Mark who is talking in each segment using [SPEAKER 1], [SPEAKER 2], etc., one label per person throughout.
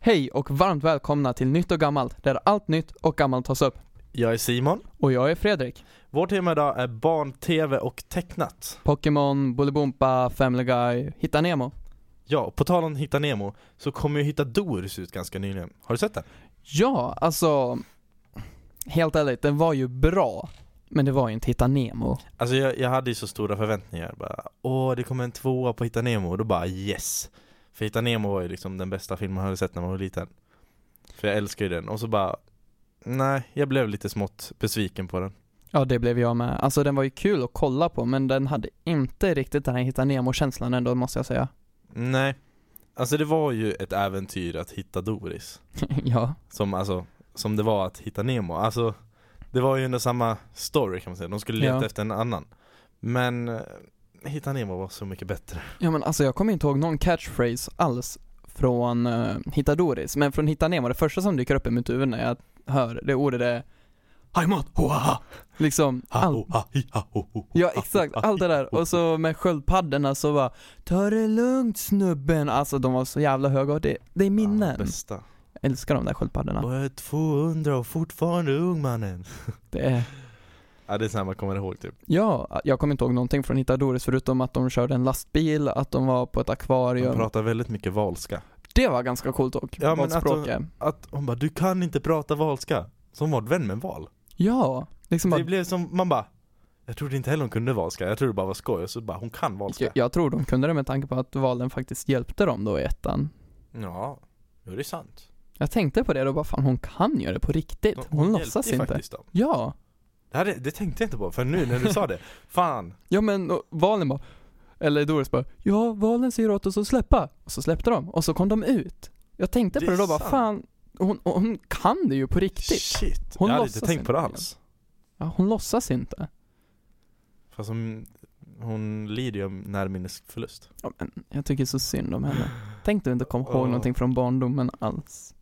[SPEAKER 1] Hej och varmt välkomna till Nytt och Gammalt, där allt nytt och gammalt tas upp.
[SPEAKER 2] Jag är Simon.
[SPEAKER 1] Och jag är Fredrik.
[SPEAKER 2] Vårt tema idag är barn-tv och tecknat.
[SPEAKER 1] Pokémon, Bolibompa, Family Guy, Hitta Nemo.
[SPEAKER 2] Ja, och på tal om Hitta Nemo så kom ju Hitta Doris ut ganska nyligen. Har du sett den?
[SPEAKER 1] Ja, alltså... Helt ärligt, den var ju bra. Men det var ju inte Hitta Nemo.
[SPEAKER 2] Alltså jag, jag hade ju så stora förväntningar. Bara, Åh, det kommer en tvåa på Hitta Nemo. Och då bara yes. För Hitta Nemo var ju liksom den bästa filmen jag hade sett när man var liten. För jag älskar ju den. Och så bara, nej, jag blev lite smått besviken på den.
[SPEAKER 1] Ja, det blev jag med. Alltså den var ju kul att kolla på, men den hade inte riktigt den här Hitta Nemo-känslan ändå, måste jag säga.
[SPEAKER 2] Nej. Alltså det var ju ett äventyr att hitta Doris.
[SPEAKER 1] ja.
[SPEAKER 2] Som alltså, som det var att hitta Nemo Alltså, det var ju under samma story kan man säga De skulle leta
[SPEAKER 1] Ja.
[SPEAKER 2] efter en annan Men eh, Hitta Nemo var så mycket bättre
[SPEAKER 1] Ja men alltså jag kommer inte ihåg någon catchphrase alls från uh, Hitta Doris, men från Hitta Nemo, det första som dyker upp i mitt huvud när jag hör det ordet är Hajmat, hoaha! Liksom,
[SPEAKER 2] Ah, oh,
[SPEAKER 1] allt. Ja exakt, allt det där. Och så med sköldpaddorna så bara Ta det lugnt snubben! Alltså de var så jävla höga och det, det är
[SPEAKER 2] Ja,
[SPEAKER 1] minnen.
[SPEAKER 2] bästa
[SPEAKER 1] Jag älskar de där sköldpaddorna.
[SPEAKER 2] Bara 200 och fortfarande ung mannen
[SPEAKER 1] Det är,
[SPEAKER 2] Ja det är sånt man kommer ihåg typ
[SPEAKER 1] ja, jag kommer inte ihåg någonting från Hitta Doris förutom att de körde en lastbil, att de var på ett
[SPEAKER 2] De
[SPEAKER 1] akvarium.
[SPEAKER 2] pratar väldigt mycket valska
[SPEAKER 1] Det var ganska coolt och
[SPEAKER 2] Ja, men att de-
[SPEAKER 1] språk är.
[SPEAKER 2] Att hon bara, du kan inte prata valska Som var vän med val
[SPEAKER 1] Ja, liksom
[SPEAKER 2] Det
[SPEAKER 1] bara,
[SPEAKER 2] blev som, man bara Jag trodde inte heller hon kunde valska, jag trodde det bara var skoj Och så bara, hon kan valska
[SPEAKER 1] Jag, jag tror de kunde det med tanke på att valen faktiskt hjälpte dem då i ettan.
[SPEAKER 2] Ja, jo det är sant
[SPEAKER 1] Jag tänkte på det då bara fan hon kan göra det på riktigt. Hon,
[SPEAKER 2] hjälpte
[SPEAKER 1] låtsas
[SPEAKER 2] ju
[SPEAKER 1] inte.
[SPEAKER 2] faktiskt dem.
[SPEAKER 1] Ja.
[SPEAKER 2] Det, här, det tänkte jag inte på, för nu när du sa det, fan.
[SPEAKER 1] Ja men och valen bara, eller Doris bara, ja valen säger åt oss att släppa. Och så släppte de och så kom de ut. Jag tänkte
[SPEAKER 2] Det
[SPEAKER 1] på det
[SPEAKER 2] är
[SPEAKER 1] då bara
[SPEAKER 2] sant.
[SPEAKER 1] fan, hon, hon kan det ju på riktigt.
[SPEAKER 2] Shit.
[SPEAKER 1] Hon
[SPEAKER 2] jag hade
[SPEAKER 1] låtsas
[SPEAKER 2] inte tänkt på det
[SPEAKER 1] inte
[SPEAKER 2] alls.
[SPEAKER 1] Ja, hon låtsas inte.
[SPEAKER 2] Fast hon, hon lider ju av närminnesförlust.
[SPEAKER 1] Ja, men jag tycker så synd om henne. Tänk du inte kom ihåg
[SPEAKER 2] Ja.
[SPEAKER 1] någonting från barndomen alls.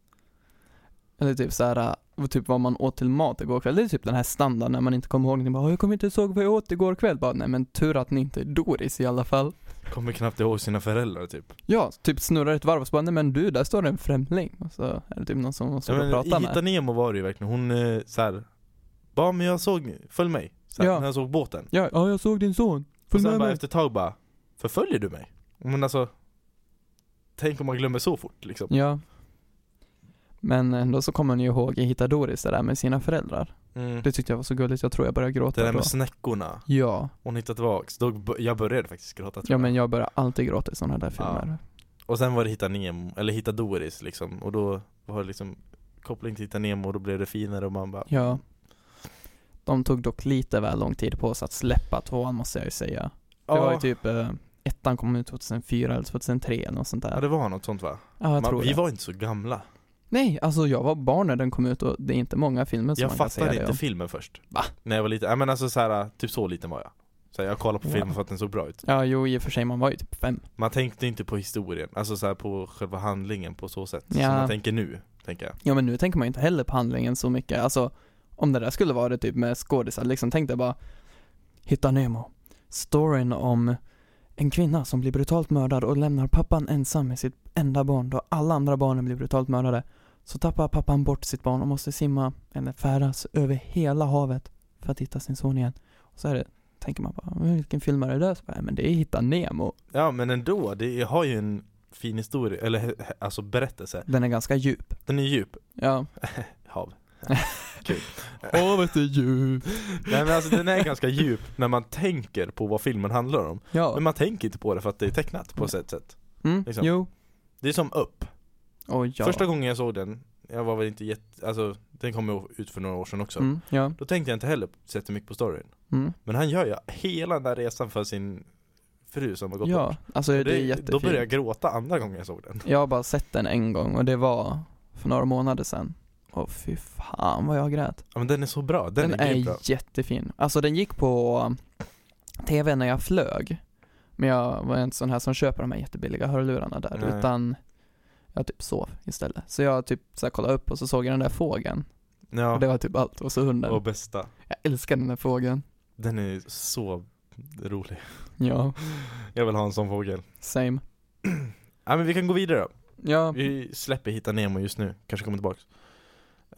[SPEAKER 1] Eller typ så här, äh, typ vad man åt till mat igår kväll. Det är typ den här standarden när man inte kommer ihåg någonting. Bara, jag kommer inte ihåg vad jag åt igår kväll. Bara, nej men tur att ni inte är Doris i alla fall.
[SPEAKER 2] Kommer knappt ihåg sina föräldrar typ.
[SPEAKER 1] Ja, typ snurrar ett varv och så bara, nej men du, där står det en främling. Och så är det typ någon som måste
[SPEAKER 2] Ja,
[SPEAKER 1] ja,
[SPEAKER 2] men,
[SPEAKER 1] prata
[SPEAKER 2] I Hitta
[SPEAKER 1] med.
[SPEAKER 2] Nemo var det ju verkligen, hon eh, såhär, bara men jag såg, följ mig. Så här,
[SPEAKER 1] Ja.
[SPEAKER 2] När jag såg båten.
[SPEAKER 1] Ja, ja, jag såg din son.
[SPEAKER 2] Och
[SPEAKER 1] Följ
[SPEAKER 2] sen
[SPEAKER 1] med
[SPEAKER 2] bara
[SPEAKER 1] mig.
[SPEAKER 2] efter ett tag bara, förföljer du mig? Men alltså, tänk om man glömmer så fort liksom.
[SPEAKER 1] Ja. Men ändå så kommer ni ju ihåg i Hitta Doris det där med sina föräldrar.
[SPEAKER 2] Mm.
[SPEAKER 1] Det tyckte jag var så gulligt, jag tror jag började
[SPEAKER 2] Det
[SPEAKER 1] gråta
[SPEAKER 2] där
[SPEAKER 1] då.
[SPEAKER 2] med snäckorna,
[SPEAKER 1] Ja.
[SPEAKER 2] hon hittade tillbaks. Då, b- jag började faktiskt gråta tror
[SPEAKER 1] Ja
[SPEAKER 2] jag.
[SPEAKER 1] men jag börjar alltid gråta i sådana där filmer.
[SPEAKER 2] Och sen var det Hitta Nemo, eller Hitta Doris liksom Och då var det liksom koppling till Hitta Nemo och då blev det finare och man bara
[SPEAKER 1] Ja. De tog dock lite väl lång tid på sig att släppa tvåan måste jag ju säga. Det var
[SPEAKER 2] "Ah,
[SPEAKER 1] ju typ, eh, ettan kom ut 2004 eller 2003 eller något sånt där.
[SPEAKER 2] Ja det var något sånt va?
[SPEAKER 1] Ja, jag
[SPEAKER 2] man,
[SPEAKER 1] tror
[SPEAKER 2] vi
[SPEAKER 1] det.
[SPEAKER 2] var inte så gamla
[SPEAKER 1] Nej, alltså jag var barn när den kom ut och det är inte många filmer som
[SPEAKER 2] Jag
[SPEAKER 1] man kan säga
[SPEAKER 2] fattade
[SPEAKER 1] det
[SPEAKER 2] inte
[SPEAKER 1] om.
[SPEAKER 2] filmen först
[SPEAKER 1] Va?
[SPEAKER 2] När jag var liten, ja men alltså så här, typ så liten var jag så här, Jag kollade på
[SPEAKER 1] Ja.
[SPEAKER 2] filmen för att den såg bra ut
[SPEAKER 1] Ja, jo i och för sig, man var ju typ fem.
[SPEAKER 2] Man tänkte inte på historien, alltså så här, på själva handlingen på så sätt
[SPEAKER 1] Ja.
[SPEAKER 2] Som man tänker nu, tänker jag
[SPEAKER 1] Ja men nu tänker man ju inte heller på handlingen så mycket, alltså om det där skulle vara det typ med skådisar, liksom tänkte jag bara Hitta Nemo, storyn om en kvinna som blir brutalt mördad och lämnar pappan ensam med sitt enda barn då alla andra barnen blir brutalt mördade. Så tappar pappan bort sitt barn och måste simma, eller färdas, över hela havet för att hitta sin son igen. Och så är det, tänker man bara, "Men vilken film är det där? Så bara, "Nej, men det är Hitta Nemo.
[SPEAKER 2] Ja men ändå, det har ju en fin historia, eller he- he- alltså berättelse
[SPEAKER 1] Den är ganska djup.
[SPEAKER 2] Den är djup,
[SPEAKER 1] Ja.
[SPEAKER 2] hav
[SPEAKER 1] Havet är djupt.
[SPEAKER 2] Nej men alltså den är ganska djup när man tänker på vad filmen handlar om
[SPEAKER 1] Ja.
[SPEAKER 2] Men man tänker inte på det för att det är tecknat på ett sätt- sätt
[SPEAKER 1] Mm,
[SPEAKER 2] liksom.
[SPEAKER 1] jo.
[SPEAKER 2] Det är som upp
[SPEAKER 1] Och ja.
[SPEAKER 2] Första gången jag såg den, jag var väl inte jätte, alltså den kom ju ut för några år sedan också
[SPEAKER 1] Mm, ja.
[SPEAKER 2] Då tänkte jag inte heller så mycket på storyn
[SPEAKER 1] Mm.
[SPEAKER 2] Men han gör ju hela den där resan för sin fru som har gått
[SPEAKER 1] Ja,
[SPEAKER 2] bort
[SPEAKER 1] alltså det,
[SPEAKER 2] Och
[SPEAKER 1] är jättefint.
[SPEAKER 2] Då började jag gråta andra gången jag såg den
[SPEAKER 1] Jag har bara sett den en gång och det var för några månader sedan. Och fy fan vad jag grät.
[SPEAKER 2] Ja men den är så bra, den, är, grymt bra
[SPEAKER 1] jättefin. Alltså den gick på um, tv när jag flög. Men jag var inte sån här som köper de här jättebilliga hörlurarna där
[SPEAKER 2] Nej.
[SPEAKER 1] utan jag typ sov istället. Så jag typ så här kollade upp och så såg jag den där fågeln. Och det
[SPEAKER 2] Ja,
[SPEAKER 1] var typ allt. Och så hunden.
[SPEAKER 2] och bästa
[SPEAKER 1] Jag älskar den där fågeln.
[SPEAKER 2] Den är så rolig
[SPEAKER 1] Ja,
[SPEAKER 2] Jag vill ha en sån fågel
[SPEAKER 1] same.
[SPEAKER 2] Ja men vi kan gå vidare då
[SPEAKER 1] Ja,
[SPEAKER 2] Vi släpper Hitta Nemo just nu, kanske kommer tillbaks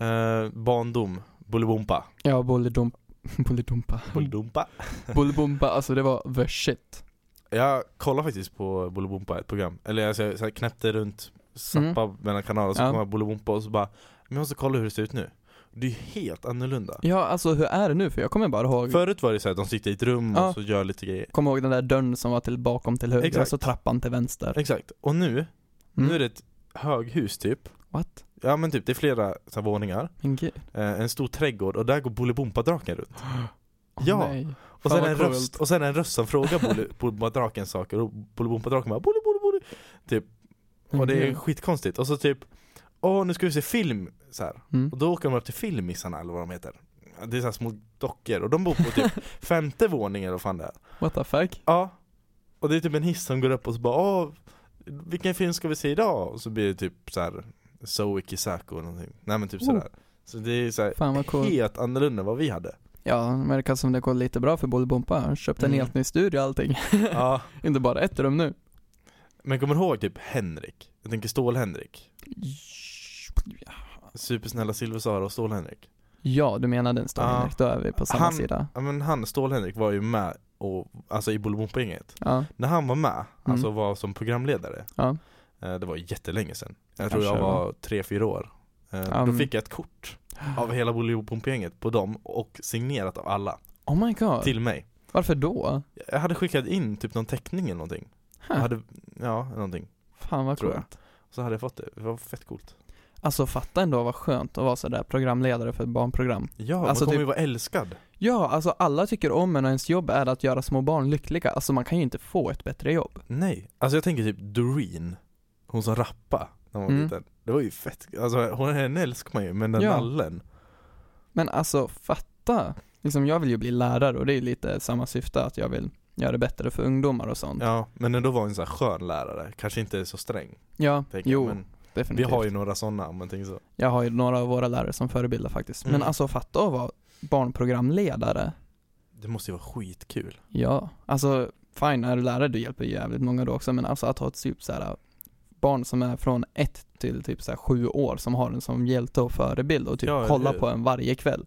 [SPEAKER 2] eh, Barndom, Bolibompa
[SPEAKER 1] ja Bolidom- Bolidumpa.
[SPEAKER 2] Bolibompa
[SPEAKER 1] Bolibompa, alltså det var the shit.
[SPEAKER 2] Jag kollade faktiskt på Bolibompa, ett program Eller alltså, jag så här knäppte runt, zappade mellan kanaler, så
[SPEAKER 1] Mm. Ja.
[SPEAKER 2] kom jag Bolibompa och så bara Men jag måste kolla hur det ser ut nu Det är ju helt annorlunda
[SPEAKER 1] Ja, alltså hur är det nu? För jag kommer bara ihåg,
[SPEAKER 2] Förut var det så här, de sitter i ett rum
[SPEAKER 1] Ja.
[SPEAKER 2] och så gör lite grejer
[SPEAKER 1] kommer ihåg den där dörren som var till bakom till höger
[SPEAKER 2] Exakt.
[SPEAKER 1] och så trappan till vänster.
[SPEAKER 2] Exakt, och nu,
[SPEAKER 1] Mm.
[SPEAKER 2] nu är det ett höghus typ
[SPEAKER 1] What?
[SPEAKER 2] Ja men typ, det är flera så här, våningar
[SPEAKER 1] Men gud.
[SPEAKER 2] eh, En stor trädgård och där går Bolibompa-draken runt
[SPEAKER 1] Åh,
[SPEAKER 2] Ja.
[SPEAKER 1] nej.
[SPEAKER 2] Och
[SPEAKER 1] Fan,
[SPEAKER 2] sen,
[SPEAKER 1] vad
[SPEAKER 2] en
[SPEAKER 1] coolt.
[SPEAKER 2] röst, och sen en röst som frågar Boli- Bolibompa-draken saker och Bolibompa-draken bara Boli, Boli, Boli.
[SPEAKER 1] Men
[SPEAKER 2] Och det är
[SPEAKER 1] gud.
[SPEAKER 2] skitkonstigt och så typ Åh nu ska vi se film så här.
[SPEAKER 1] Mm.
[SPEAKER 2] Och då åker de upp till filmisarna eller vad de heter Det är så här små dockor och de bor på typ femte våningen eller vad fan det är
[SPEAKER 1] What the fuck?
[SPEAKER 2] Ja Och det är typ en hiss som går upp och så bara Åh vilken film ska vi se idag? Och så blir det typ så här Zoe Kisako eller någonting Nej men typ
[SPEAKER 1] Oh.
[SPEAKER 2] sådär Så det är så här
[SPEAKER 1] Fan vad coolt.
[SPEAKER 2] helt annorlunda än vad vi hade
[SPEAKER 1] Ja, det verkar som det går lite bra för Bolibompa. Han köpte en
[SPEAKER 2] Mm.
[SPEAKER 1] helt ny studio och allting.
[SPEAKER 2] Ja
[SPEAKER 1] Inte bara ett rum nu.
[SPEAKER 2] Men kommer du ihåg typ Henrik? Jag tänker Stål-Henrik Supersnälla Silversara och Stål-Henrik
[SPEAKER 1] Ja, du menar den storyn,
[SPEAKER 2] Ja.
[SPEAKER 1] Henrik. då är vi på samma
[SPEAKER 2] Han-
[SPEAKER 1] sida.
[SPEAKER 2] Ja men han, Stål-Henrik var ju med och, alltså i Bolibompa-gänget
[SPEAKER 1] Ja,
[SPEAKER 2] När han var
[SPEAKER 1] Mm.
[SPEAKER 2] med, alltså var som programledare
[SPEAKER 1] Ja.
[SPEAKER 2] eh, Det var jättelänge sedan Jag tror
[SPEAKER 1] Kanske
[SPEAKER 2] jag
[SPEAKER 1] det
[SPEAKER 2] var 3-4 år eh, Då
[SPEAKER 1] Mm.
[SPEAKER 2] fick jag ett kort av hela Bolibompa-gänget på dem och signerat av alla
[SPEAKER 1] oh my god.
[SPEAKER 2] till mig
[SPEAKER 1] Varför då?
[SPEAKER 2] Jag hade skickat in typ någon teckning eller någonting jag
[SPEAKER 1] Huh.
[SPEAKER 2] hade, Ja, någonting
[SPEAKER 1] Fan vad
[SPEAKER 2] tror
[SPEAKER 1] coolt.
[SPEAKER 2] jag. Så hade jag fått det, det var fett coolt
[SPEAKER 1] Alltså fatta ändå vad skönt att vara sådär programledare för ett barnprogram.
[SPEAKER 2] Ja,
[SPEAKER 1] Alltså,
[SPEAKER 2] man kommer
[SPEAKER 1] typ-
[SPEAKER 2] ju vara älskad
[SPEAKER 1] Ja, alltså alla tycker om en och ens jobb är att göra små barn lyckliga. Alltså man kan ju inte få ett bättre jobb.
[SPEAKER 2] Nej, alltså jag tänker typ Doreen Hon som rappa när hon var
[SPEAKER 1] Mm.
[SPEAKER 2] liten Det var ju fett, alltså hon, henne älskar man ju men den
[SPEAKER 1] Ja.
[SPEAKER 2] nallen
[SPEAKER 1] Men alltså fatta. Liksom jag vill ju bli lärare och det är ju lite samma syfte att jag vill göra det bättre för ungdomar och sånt. Ja,
[SPEAKER 2] Ja, men ändå var hon en sån här skön lärare, kanske inte så sträng tänker
[SPEAKER 1] jo,
[SPEAKER 2] jag, men vi
[SPEAKER 1] definitivt.
[SPEAKER 2] har ju några sådana om man tänker så
[SPEAKER 1] Jag har ju några av våra lärare som förebilder faktiskt.
[SPEAKER 2] Mm.
[SPEAKER 1] Men alltså fatta att vara barnprogramledare.
[SPEAKER 2] Det måste ju vara skitkul
[SPEAKER 1] Ja, alltså fine, är du lärare du hjälper jävligt många då också men alltså att ha ett typ så här barn som är från ett till typ så här sju år som har en som hjälte och förebild och typ
[SPEAKER 2] Ja, eller
[SPEAKER 1] kollar
[SPEAKER 2] hur?
[SPEAKER 1] på en varje kväll.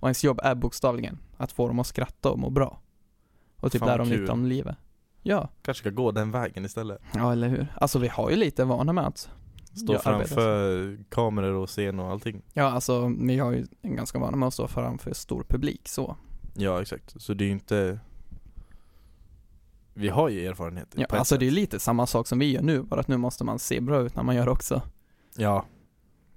[SPEAKER 1] Och ens jobb är bokstavligen att få dem att skratta och må bra. Och typ
[SPEAKER 2] Fan,
[SPEAKER 1] lära
[SPEAKER 2] vad
[SPEAKER 1] dem
[SPEAKER 2] kul.
[SPEAKER 1] lite om livet. Ja,
[SPEAKER 2] Kanske ska gå den vägen istället
[SPEAKER 1] ja eller hur. Alltså vi har ju lite vana med att
[SPEAKER 2] Stå
[SPEAKER 1] Ja, arbeta
[SPEAKER 2] framför kameror och scen och allting
[SPEAKER 1] Ja alltså vi har ju en ganska vana med att stå framför stor publik så.
[SPEAKER 2] Ja exakt, så det är ju inte Vi har ju erfarenhet
[SPEAKER 1] Ja,
[SPEAKER 2] på ett
[SPEAKER 1] alltså det är
[SPEAKER 2] sätt.
[SPEAKER 1] lite samma sak som vi gör nu bara att nu måste man se bra ut när man gör också.
[SPEAKER 2] Ja,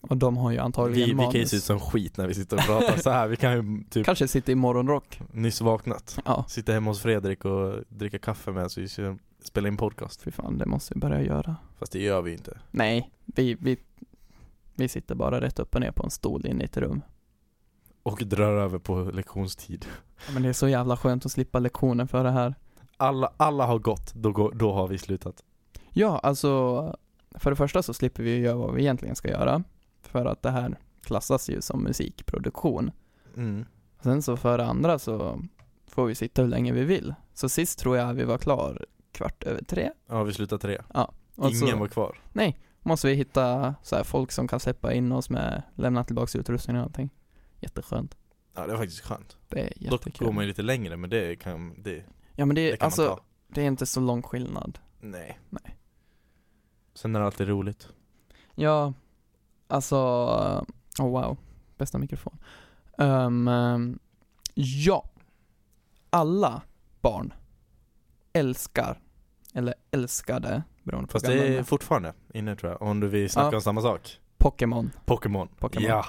[SPEAKER 1] Och de har ju
[SPEAKER 2] vi,
[SPEAKER 1] antagligen
[SPEAKER 2] vi kan ju
[SPEAKER 1] manus.
[SPEAKER 2] se ut som skit när vi sitter och pratar så här. vi kan ju typ
[SPEAKER 1] Kanske sitter i morgonrock.
[SPEAKER 2] nyss vaknat
[SPEAKER 1] Ja,
[SPEAKER 2] Sitta hemma hos Fredrik och dricka kaffe med så vi ska spela in podcast
[SPEAKER 1] fy fan, det måste vi börja göra.
[SPEAKER 2] Fast det gör vi ju inte
[SPEAKER 1] Nej, vi, vi, vi sitter bara rätt upp och ner på en stol inne i ett rum.
[SPEAKER 2] Och drar över på lektionstid
[SPEAKER 1] Ja, Men det är så jävla skönt att slippa lektionen för det här.
[SPEAKER 2] Alla, alla har gått, då, går, då har vi slutat
[SPEAKER 1] Ja, alltså, för det första så slipper vi ju göra vad vi egentligen ska göra. För att det här klassas ju som musikproduktion.
[SPEAKER 2] mm.
[SPEAKER 1] Sen så för det andra så får vi sitta hur länge vi vill. Så sist tror jag vi var klar kvart över tre.
[SPEAKER 2] Ja vi slutar tre,
[SPEAKER 1] Och så-
[SPEAKER 2] ingen var kvar
[SPEAKER 1] måste vi hitta så här folk som kan släppa in oss med, lämna tillbaka utrustning och allting. Jätteskönt.
[SPEAKER 2] Ja det är faktiskt skönt
[SPEAKER 1] Det är
[SPEAKER 2] Dock går
[SPEAKER 1] jättekul.
[SPEAKER 2] man ju lite längre men det kan, det,
[SPEAKER 1] ja men det,
[SPEAKER 2] det
[SPEAKER 1] är
[SPEAKER 2] kan man
[SPEAKER 1] alltså,
[SPEAKER 2] ta
[SPEAKER 1] det är inte så lång skillnad.
[SPEAKER 2] Nej
[SPEAKER 1] Nej.
[SPEAKER 2] Sen är det alltid roligt
[SPEAKER 1] Ja, alltså, oh wow, bästa mikrofon. Ehm, ehm, ja, alla barn älskar, eller älskade, beroende på
[SPEAKER 2] Fast
[SPEAKER 1] hur gamla
[SPEAKER 2] det
[SPEAKER 1] de
[SPEAKER 2] är
[SPEAKER 1] är,
[SPEAKER 2] fortfarande inne tror jag, om du vill snacka
[SPEAKER 1] Ja.
[SPEAKER 2] om samma sak
[SPEAKER 1] Pokémon.
[SPEAKER 2] Pokémon
[SPEAKER 1] Pokémon.
[SPEAKER 2] Ja,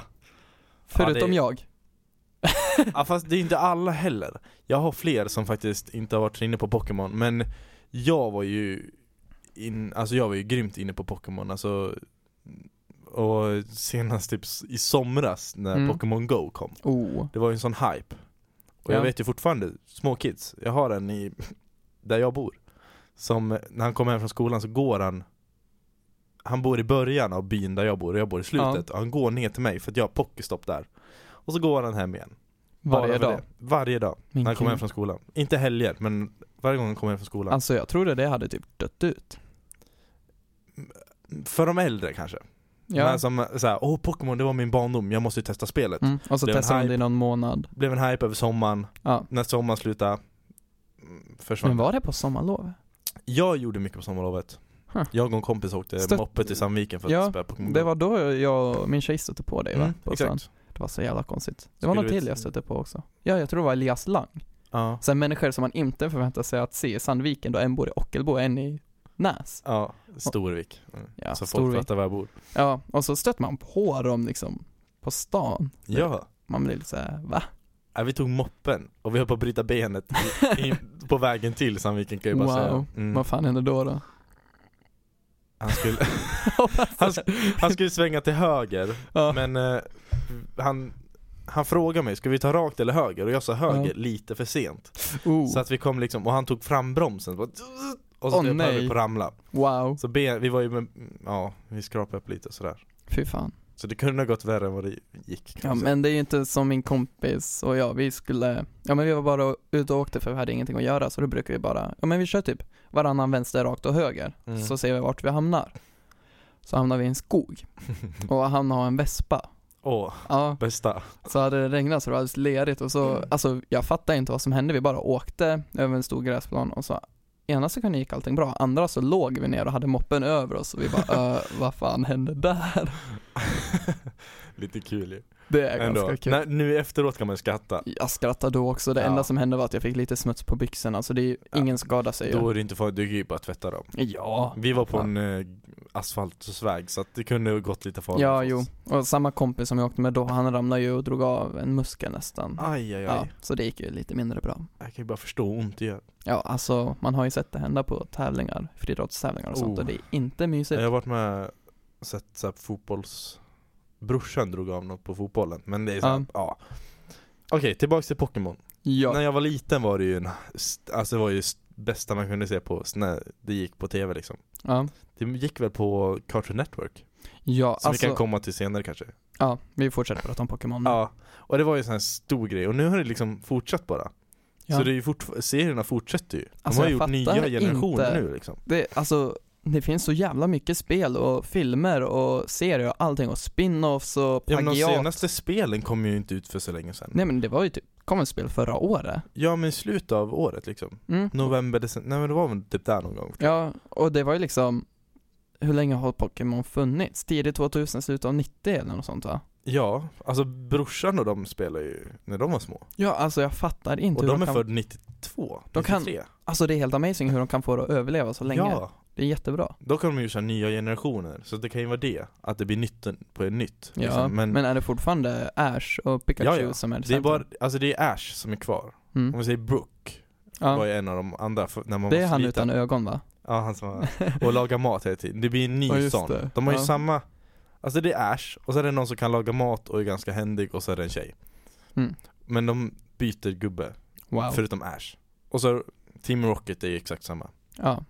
[SPEAKER 1] Förutom
[SPEAKER 2] det-
[SPEAKER 1] jag.
[SPEAKER 2] Ja fast det är inte alla heller Jag har fler som faktiskt inte har varit så inne på Pokémon men Jag var ju in, Alltså jag var ju grymt inne på Pokémon alltså Och senast typ s- i somras när
[SPEAKER 1] Mm.
[SPEAKER 2] Pokémon Go kom
[SPEAKER 1] Oh,
[SPEAKER 2] Det var ju en sån hype Och jag
[SPEAKER 1] Ja.
[SPEAKER 2] vet ju fortfarande, små kids Jag har en i Där jag bor Som, när han kommer hem från skolan så går han Han bor i början av byn där jag bor och jag bor i slutet och han går ner till mig för att jag har Pokéstopp där Och så går han hem igen
[SPEAKER 1] varje
[SPEAKER 2] bara för
[SPEAKER 1] dag.
[SPEAKER 2] det. Varje dag,
[SPEAKER 1] Min
[SPEAKER 2] när han kommer hem
[SPEAKER 1] gud.
[SPEAKER 2] från skolan. Inte helger, men varje gång han kommer hem från skolan.
[SPEAKER 1] Alltså jag trodde det hade typ dött ut.
[SPEAKER 2] för de äldre kanske. De här
[SPEAKER 1] Ja.
[SPEAKER 2] som såhär, åh Pokémon det var min barndom, jag måste ju testa spelet.
[SPEAKER 1] Mm. Och så
[SPEAKER 2] Det är en
[SPEAKER 1] testar man det
[SPEAKER 2] hype.
[SPEAKER 1] i någon månad.
[SPEAKER 2] Blev en hype över sommaren,
[SPEAKER 1] Ja.
[SPEAKER 2] när sommaren slutade mm, försvann.
[SPEAKER 1] Men var det på sommarlov?
[SPEAKER 2] Jag gjorde mycket på sommarlovet.
[SPEAKER 1] Huh.
[SPEAKER 2] Jag och en kompis åkte
[SPEAKER 1] Stött-
[SPEAKER 2] moppe till Sandviken för att
[SPEAKER 1] Ja,
[SPEAKER 2] spela Pokémon
[SPEAKER 1] Det
[SPEAKER 2] Go.
[SPEAKER 1] var då jag och min tjej stötte på dig va?
[SPEAKER 2] Mm,
[SPEAKER 1] på stan.
[SPEAKER 2] exakt.
[SPEAKER 1] Det var så jävla konstigt. Det var
[SPEAKER 2] Skulle
[SPEAKER 1] någon
[SPEAKER 2] vi-
[SPEAKER 1] till jag stötte på också. Ja, jag tror det var Elias Lang.
[SPEAKER 2] Ja.
[SPEAKER 1] Sen människor som man inte förväntar sig att se i Sandviken då en bor i Ockelbo och en i Näs.
[SPEAKER 2] Ja, Storvik. Mm.
[SPEAKER 1] Ja,
[SPEAKER 2] så folk
[SPEAKER 1] Storvik.
[SPEAKER 2] fattar var jag bor.
[SPEAKER 1] Ja, och så stötte man på dem liksom på stan.
[SPEAKER 2] Ja.
[SPEAKER 1] Man blir lite såhär, va?
[SPEAKER 2] ja, vi tog moppen och vi höll på att bryta benet i, i, på vägen till Sandviken kan jag bara
[SPEAKER 1] Wow.
[SPEAKER 2] säga. Mm.
[SPEAKER 1] Vad fan hände då då?
[SPEAKER 2] Han, skulle, han, sk- han skulle svänga till höger,
[SPEAKER 1] Ja.
[SPEAKER 2] men eh, han, han frågade mig, ska vi ta rakt eller höger? Och jag sa höger
[SPEAKER 1] Ja.
[SPEAKER 2] lite för sent.
[SPEAKER 1] Oh,
[SPEAKER 2] Så att vi kom liksom, och han tog fram bromsen. bara- Och så
[SPEAKER 1] Åh,
[SPEAKER 2] typ höll vi
[SPEAKER 1] nej.
[SPEAKER 2] på att ramla.
[SPEAKER 1] wow.
[SPEAKER 2] Så ben, vi var ju med, ja, vi skrapade upp lite och sådär.
[SPEAKER 1] Fy fan.
[SPEAKER 2] Så det kunde ha gått värre än vad det gick.
[SPEAKER 1] Ja
[SPEAKER 2] kan man säga.
[SPEAKER 1] men det är ju inte som min kompis och jag, vi skulle, ja men vi var bara ute och åkte för vi hade ingenting att göra så då brukar vi bara, ja men vi kör typ varannan vänster rakt och höger,
[SPEAKER 2] Mm.
[SPEAKER 1] så ser vi vart vi hamnar. Så hamnar vi i en skog och han har en vespa.
[SPEAKER 2] Åh,
[SPEAKER 1] Ja,
[SPEAKER 2] bästa.
[SPEAKER 1] så hade det regnat så det var alldeles lerigt och så,
[SPEAKER 2] Mm.
[SPEAKER 1] alltså jag fattade inte vad som hände, vi bara åkte över en stor gräsplan och så ena sekunden gick allting bra, andra så låg vi ner och hade moppen över oss och vi bara, äh, vad fan hände där?
[SPEAKER 2] Lite kul ju.
[SPEAKER 1] Det är
[SPEAKER 2] Ändå.
[SPEAKER 1] ganska kul.
[SPEAKER 2] Nej, nu efteråt kan man ju skratta.
[SPEAKER 1] Jag skrattade då också, det
[SPEAKER 2] Ja.
[SPEAKER 1] enda som hände var att jag fick lite smuts på byxorna så det är ju,
[SPEAKER 2] Ja.
[SPEAKER 1] ingen skada sig
[SPEAKER 2] Då
[SPEAKER 1] ju.
[SPEAKER 2] är det inte farligt, du kan ju bara tvätta dem.
[SPEAKER 1] Ja,
[SPEAKER 2] Vi var på
[SPEAKER 1] Ja.
[SPEAKER 2] en eh, asfaltsväg så att det kunde ha gått lite farligt.
[SPEAKER 1] ja
[SPEAKER 2] för
[SPEAKER 1] jo.
[SPEAKER 2] oss.
[SPEAKER 1] Och samma kompis som jag åkte med då, han ramlade ju och drog av en muskel nästan.
[SPEAKER 2] Aj, aj, aj.
[SPEAKER 1] Ja, så det gick ju lite mindre bra.
[SPEAKER 2] Jag kan ju bara förstå hur ont det gör.
[SPEAKER 1] Ja, alltså man har ju sett det hända på tävlingar, friidrottstävlingar och sånt
[SPEAKER 2] Oh.
[SPEAKER 1] och det är inte mysigt.
[SPEAKER 2] Jag har varit med sett så här, fotbolls... Brorsan drog av något på fotbollen, men det är så här,
[SPEAKER 1] Ja.
[SPEAKER 2] ja. Okej, tillbaks till Pokémon.
[SPEAKER 1] Ja,
[SPEAKER 2] När jag var liten var det ju en, alltså det var ju det bästa man kunde se på, när det gick på tv liksom.
[SPEAKER 1] ja.
[SPEAKER 2] Det gick väl på Cartoon Network?
[SPEAKER 1] ja
[SPEAKER 2] Som vi
[SPEAKER 1] alltså, Mm.
[SPEAKER 2] kan komma till senare kanske.
[SPEAKER 1] ja, vi fortsätter prata om Pokémon nu.
[SPEAKER 2] Ja, och det var ju en sån här stor grej och nu har det liksom fortsatt bara.
[SPEAKER 1] Ja.
[SPEAKER 2] Så det är ju fortf- serierna fortsätter ju. De
[SPEAKER 1] Alltså,
[SPEAKER 2] har
[SPEAKER 1] jag
[SPEAKER 2] gjort
[SPEAKER 1] fattar
[SPEAKER 2] nya generationer
[SPEAKER 1] inte.
[SPEAKER 2] nu liksom.
[SPEAKER 1] Det, alltså, det finns så jävla mycket spel och filmer och serier och allting och spin-offs och
[SPEAKER 2] Ja, men de
[SPEAKER 1] plagiat.
[SPEAKER 2] senaste spelen kom ju inte ut för så länge sedan.
[SPEAKER 1] Nej men det var ju typ, kom ett spel förra året.
[SPEAKER 2] Ja men i slutet av året liksom.
[SPEAKER 1] Mm.
[SPEAKER 2] November, december, nej men det var väl typ där någon gång.
[SPEAKER 1] Ja, och det var ju liksom Hur länge har Pokémon funnits? Tidigt 2000, slutet av 90 eller något sånt va?
[SPEAKER 2] Ja, alltså brorsan och de spelar ju när de var små.
[SPEAKER 1] Ja, alltså jag fattar inte
[SPEAKER 2] Och
[SPEAKER 1] hur
[SPEAKER 2] de är
[SPEAKER 1] kan,
[SPEAKER 2] född 92,
[SPEAKER 1] De kan
[SPEAKER 2] 93.
[SPEAKER 1] Alltså det är helt amazing hur de kan få det att överleva så länge.
[SPEAKER 2] Ja,
[SPEAKER 1] Det är jättebra.
[SPEAKER 2] då kan de ju köra nya generationer. Så det kan ju vara det, att det blir nytt på ett nytt.
[SPEAKER 1] Ja,
[SPEAKER 2] liksom.
[SPEAKER 1] men, är det fortfarande Ash och Pikachu
[SPEAKER 2] Ja, ja.
[SPEAKER 1] som är
[SPEAKER 2] det är
[SPEAKER 1] centrum?
[SPEAKER 2] bara, alltså det är Ash som är kvar. Om
[SPEAKER 1] mm.
[SPEAKER 2] vi säger Brooke, var
[SPEAKER 1] ja.
[SPEAKER 2] ju en av de andra för, när man
[SPEAKER 1] Det
[SPEAKER 2] var
[SPEAKER 1] är han
[SPEAKER 2] liten.
[SPEAKER 1] utan ögon va?
[SPEAKER 2] Ja han som var, och lagar mat hela tiden. Det blir en ny
[SPEAKER 1] Ja, just
[SPEAKER 2] sån.
[SPEAKER 1] det.
[SPEAKER 2] De har ju
[SPEAKER 1] Ja.
[SPEAKER 2] samma, alltså det är Ash, och så är det någon som kan laga mat och är ganska händig och så är det en tjej.
[SPEAKER 1] Mm.
[SPEAKER 2] Men de byter gubbe,
[SPEAKER 1] Wow.
[SPEAKER 2] förutom Ash. Och så Team Rocket är ju exakt samma.
[SPEAKER 1] Ja,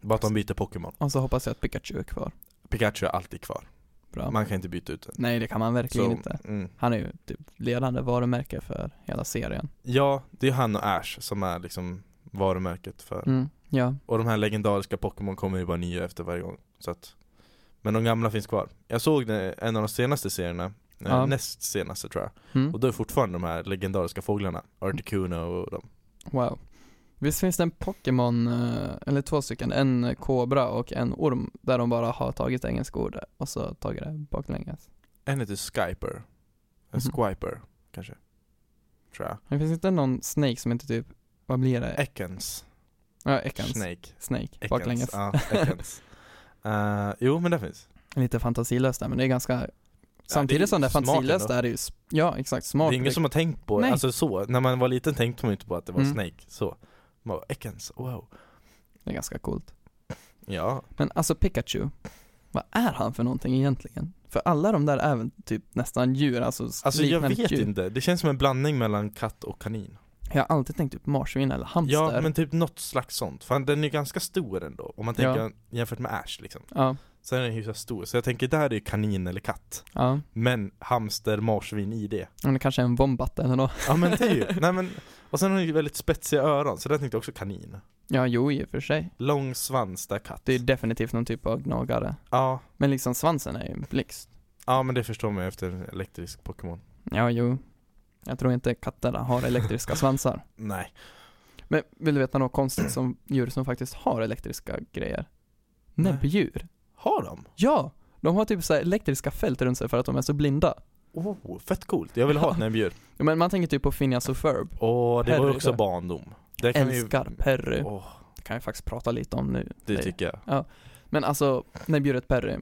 [SPEAKER 2] Bara att de byter Pokémon.
[SPEAKER 1] och så hoppas jag att Pikachu är kvar.
[SPEAKER 2] Pikachu är alltid kvar.
[SPEAKER 1] Bra.
[SPEAKER 2] Man kan inte byta ut den.
[SPEAKER 1] Nej, det kan man verkligen inte.
[SPEAKER 2] mm.
[SPEAKER 1] Han är ju typ ledande varumärke för hela serien.
[SPEAKER 2] Ja, det är han och Ash som är liksom varumärket för
[SPEAKER 1] Mm. Ja,
[SPEAKER 2] Och de här legendariska Pokémon kommer ju bara nya efter varje gång så att, Men de gamla finns kvar Jag såg det, en av de senaste serierna eh,
[SPEAKER 1] Ja.
[SPEAKER 2] Näst senaste tror jag
[SPEAKER 1] mm.
[SPEAKER 2] Och då är fortfarande de här legendariska fåglarna Articuno och de
[SPEAKER 1] Wow. Visst finns det en Pokémon, eh, eller två stycken, en kobra och en orm, där de bara har tagit engelska ord och så tagit det baklänges.
[SPEAKER 2] En heter Skyper En
[SPEAKER 1] Mhm.
[SPEAKER 2] Squiper kanske Tror jag
[SPEAKER 1] Men finns inte någon Snake som inte typ, vad blir det?
[SPEAKER 2] Ekans
[SPEAKER 1] Ja, Ekans. Snake,
[SPEAKER 2] Snake Ekans,
[SPEAKER 1] baklänges.
[SPEAKER 2] ja, Ekans. Eh, Jo men det finns
[SPEAKER 1] Lite fantasilöst där, men det är ganska, samtidigt
[SPEAKER 2] ju
[SPEAKER 1] som det är
[SPEAKER 2] smart
[SPEAKER 1] fantasilöst
[SPEAKER 2] ändå.
[SPEAKER 1] är det ju, sp- ja exakt, smart.
[SPEAKER 2] Det är ingen som har tänkt på
[SPEAKER 1] Nej.
[SPEAKER 2] alltså så När man var liten tänkte man inte på att det var
[SPEAKER 1] Mm.
[SPEAKER 2] Snake så Man bara, Ekans, wow
[SPEAKER 1] Det är ganska coolt.
[SPEAKER 2] Ja,
[SPEAKER 1] Men alltså Pikachu, vad är han för någonting egentligen? För alla de där är även typ nästan djur, alltså,
[SPEAKER 2] Alltså jag
[SPEAKER 1] liknande
[SPEAKER 2] vet
[SPEAKER 1] djur.
[SPEAKER 2] inte, det känns som en blandning mellan katt och kanin
[SPEAKER 1] Jag har alltid tänkt typ marsvin eller hamster.
[SPEAKER 2] Ja men typ något slags sånt, för den är ju ganska stor ändå Om man tänker jämfört med Ash liksom
[SPEAKER 1] ja.
[SPEAKER 2] Sen är den hyfsat stor, så jag tänker där är ju kanin eller katt.
[SPEAKER 1] Ja,
[SPEAKER 2] Men hamster, marsvin i det.
[SPEAKER 1] men det kanske är en bombat eller något.
[SPEAKER 2] Ja men typ. Nej, men, och sen har den ju väldigt spetsiga öron, så där tänkte jag också kanin.
[SPEAKER 1] Ja, jo i och för sig.
[SPEAKER 2] Lång svans där katt.
[SPEAKER 1] Det är definitivt någon typ av gnagare.
[SPEAKER 2] Ja,
[SPEAKER 1] Men liksom svansen är ju en blixt.
[SPEAKER 2] ja men det förstår man ju efter en elektrisk Pokémon.
[SPEAKER 1] Ja, jo. Jag tror inte katterna har elektriska svansar.
[SPEAKER 2] Nej.
[SPEAKER 1] Men vill du veta något konstigt som djur som faktiskt har elektriska grejer?
[SPEAKER 2] Nej.
[SPEAKER 1] Näbbdjur.
[SPEAKER 2] Har de?
[SPEAKER 1] Ja! De har typ så här elektriska fält runt sig för att de är så blinda.
[SPEAKER 2] Oh, fett coolt. Jag vill ha ett näbbdjur.
[SPEAKER 1] Ja, Men man tänker typ på Phineas och Ferb.
[SPEAKER 2] Åh, det var
[SPEAKER 1] Perry,
[SPEAKER 2] också
[SPEAKER 1] där.
[SPEAKER 2] barndom. Det kan vi ju-
[SPEAKER 1] Älskar Perry.
[SPEAKER 2] Åh,
[SPEAKER 1] Det kan jag faktiskt prata lite om nu.
[SPEAKER 2] det tycker jag.
[SPEAKER 1] Men alltså, näbbdjuret Perry.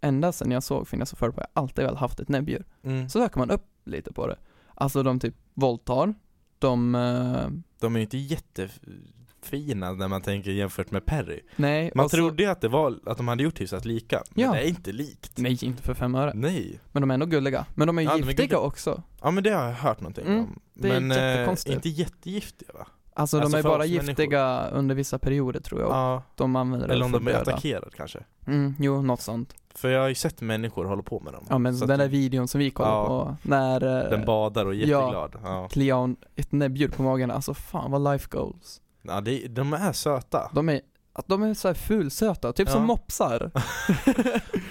[SPEAKER 1] Ända sedan jag såg Phineas och Ferb har jag alltid väl haft ett näbbdjur.
[SPEAKER 2] Mm.
[SPEAKER 1] Så söker man upp lite på det. Alltså de typ våldtar, de, eh,
[SPEAKER 2] De är ju inte jättefina när man tänker jämfört med Perry.
[SPEAKER 1] nej.
[SPEAKER 2] Man
[SPEAKER 1] och så-
[SPEAKER 2] trodde ju att det var, att de hade gjort hyfsat lika, men
[SPEAKER 1] Alltså- Ja.
[SPEAKER 2] det är inte likt.
[SPEAKER 1] Nej, inte för fem öre.
[SPEAKER 2] Nej.
[SPEAKER 1] Men de är ändå gulliga. Men de är
[SPEAKER 2] Ja, de är
[SPEAKER 1] giftiga
[SPEAKER 2] gulliga.
[SPEAKER 1] också.
[SPEAKER 2] Ja men det har jag hört någonting
[SPEAKER 1] Mm,
[SPEAKER 2] om.
[SPEAKER 1] det är
[SPEAKER 2] men eh,
[SPEAKER 1] jättekonstigt.
[SPEAKER 2] inte jättegiftiga va?
[SPEAKER 1] Alltså,
[SPEAKER 2] Alltså,
[SPEAKER 1] de är
[SPEAKER 2] för
[SPEAKER 1] bara
[SPEAKER 2] oss människor.
[SPEAKER 1] giftiga under vissa perioder tror jag.
[SPEAKER 2] Ja,
[SPEAKER 1] De använder det
[SPEAKER 2] eller om
[SPEAKER 1] för
[SPEAKER 2] de blir
[SPEAKER 1] att döda.
[SPEAKER 2] attackerade kanske.
[SPEAKER 1] Mm, jo, något sånt.
[SPEAKER 2] För jag har ju sett människor hålla på med dem.
[SPEAKER 1] Ja men
[SPEAKER 2] Så att
[SPEAKER 1] den där videon som vi kollade
[SPEAKER 2] Ja.
[SPEAKER 1] på, när eh,
[SPEAKER 2] den badar och är
[SPEAKER 1] ja.
[SPEAKER 2] jätteglad. Ja,
[SPEAKER 1] kliar hon ett näbbdjur på magen, alltså fan vad life goals.
[SPEAKER 2] ja det, de är söta.
[SPEAKER 1] De är, att de är så här fulsöta, typ
[SPEAKER 2] Ja.
[SPEAKER 1] som mopsar.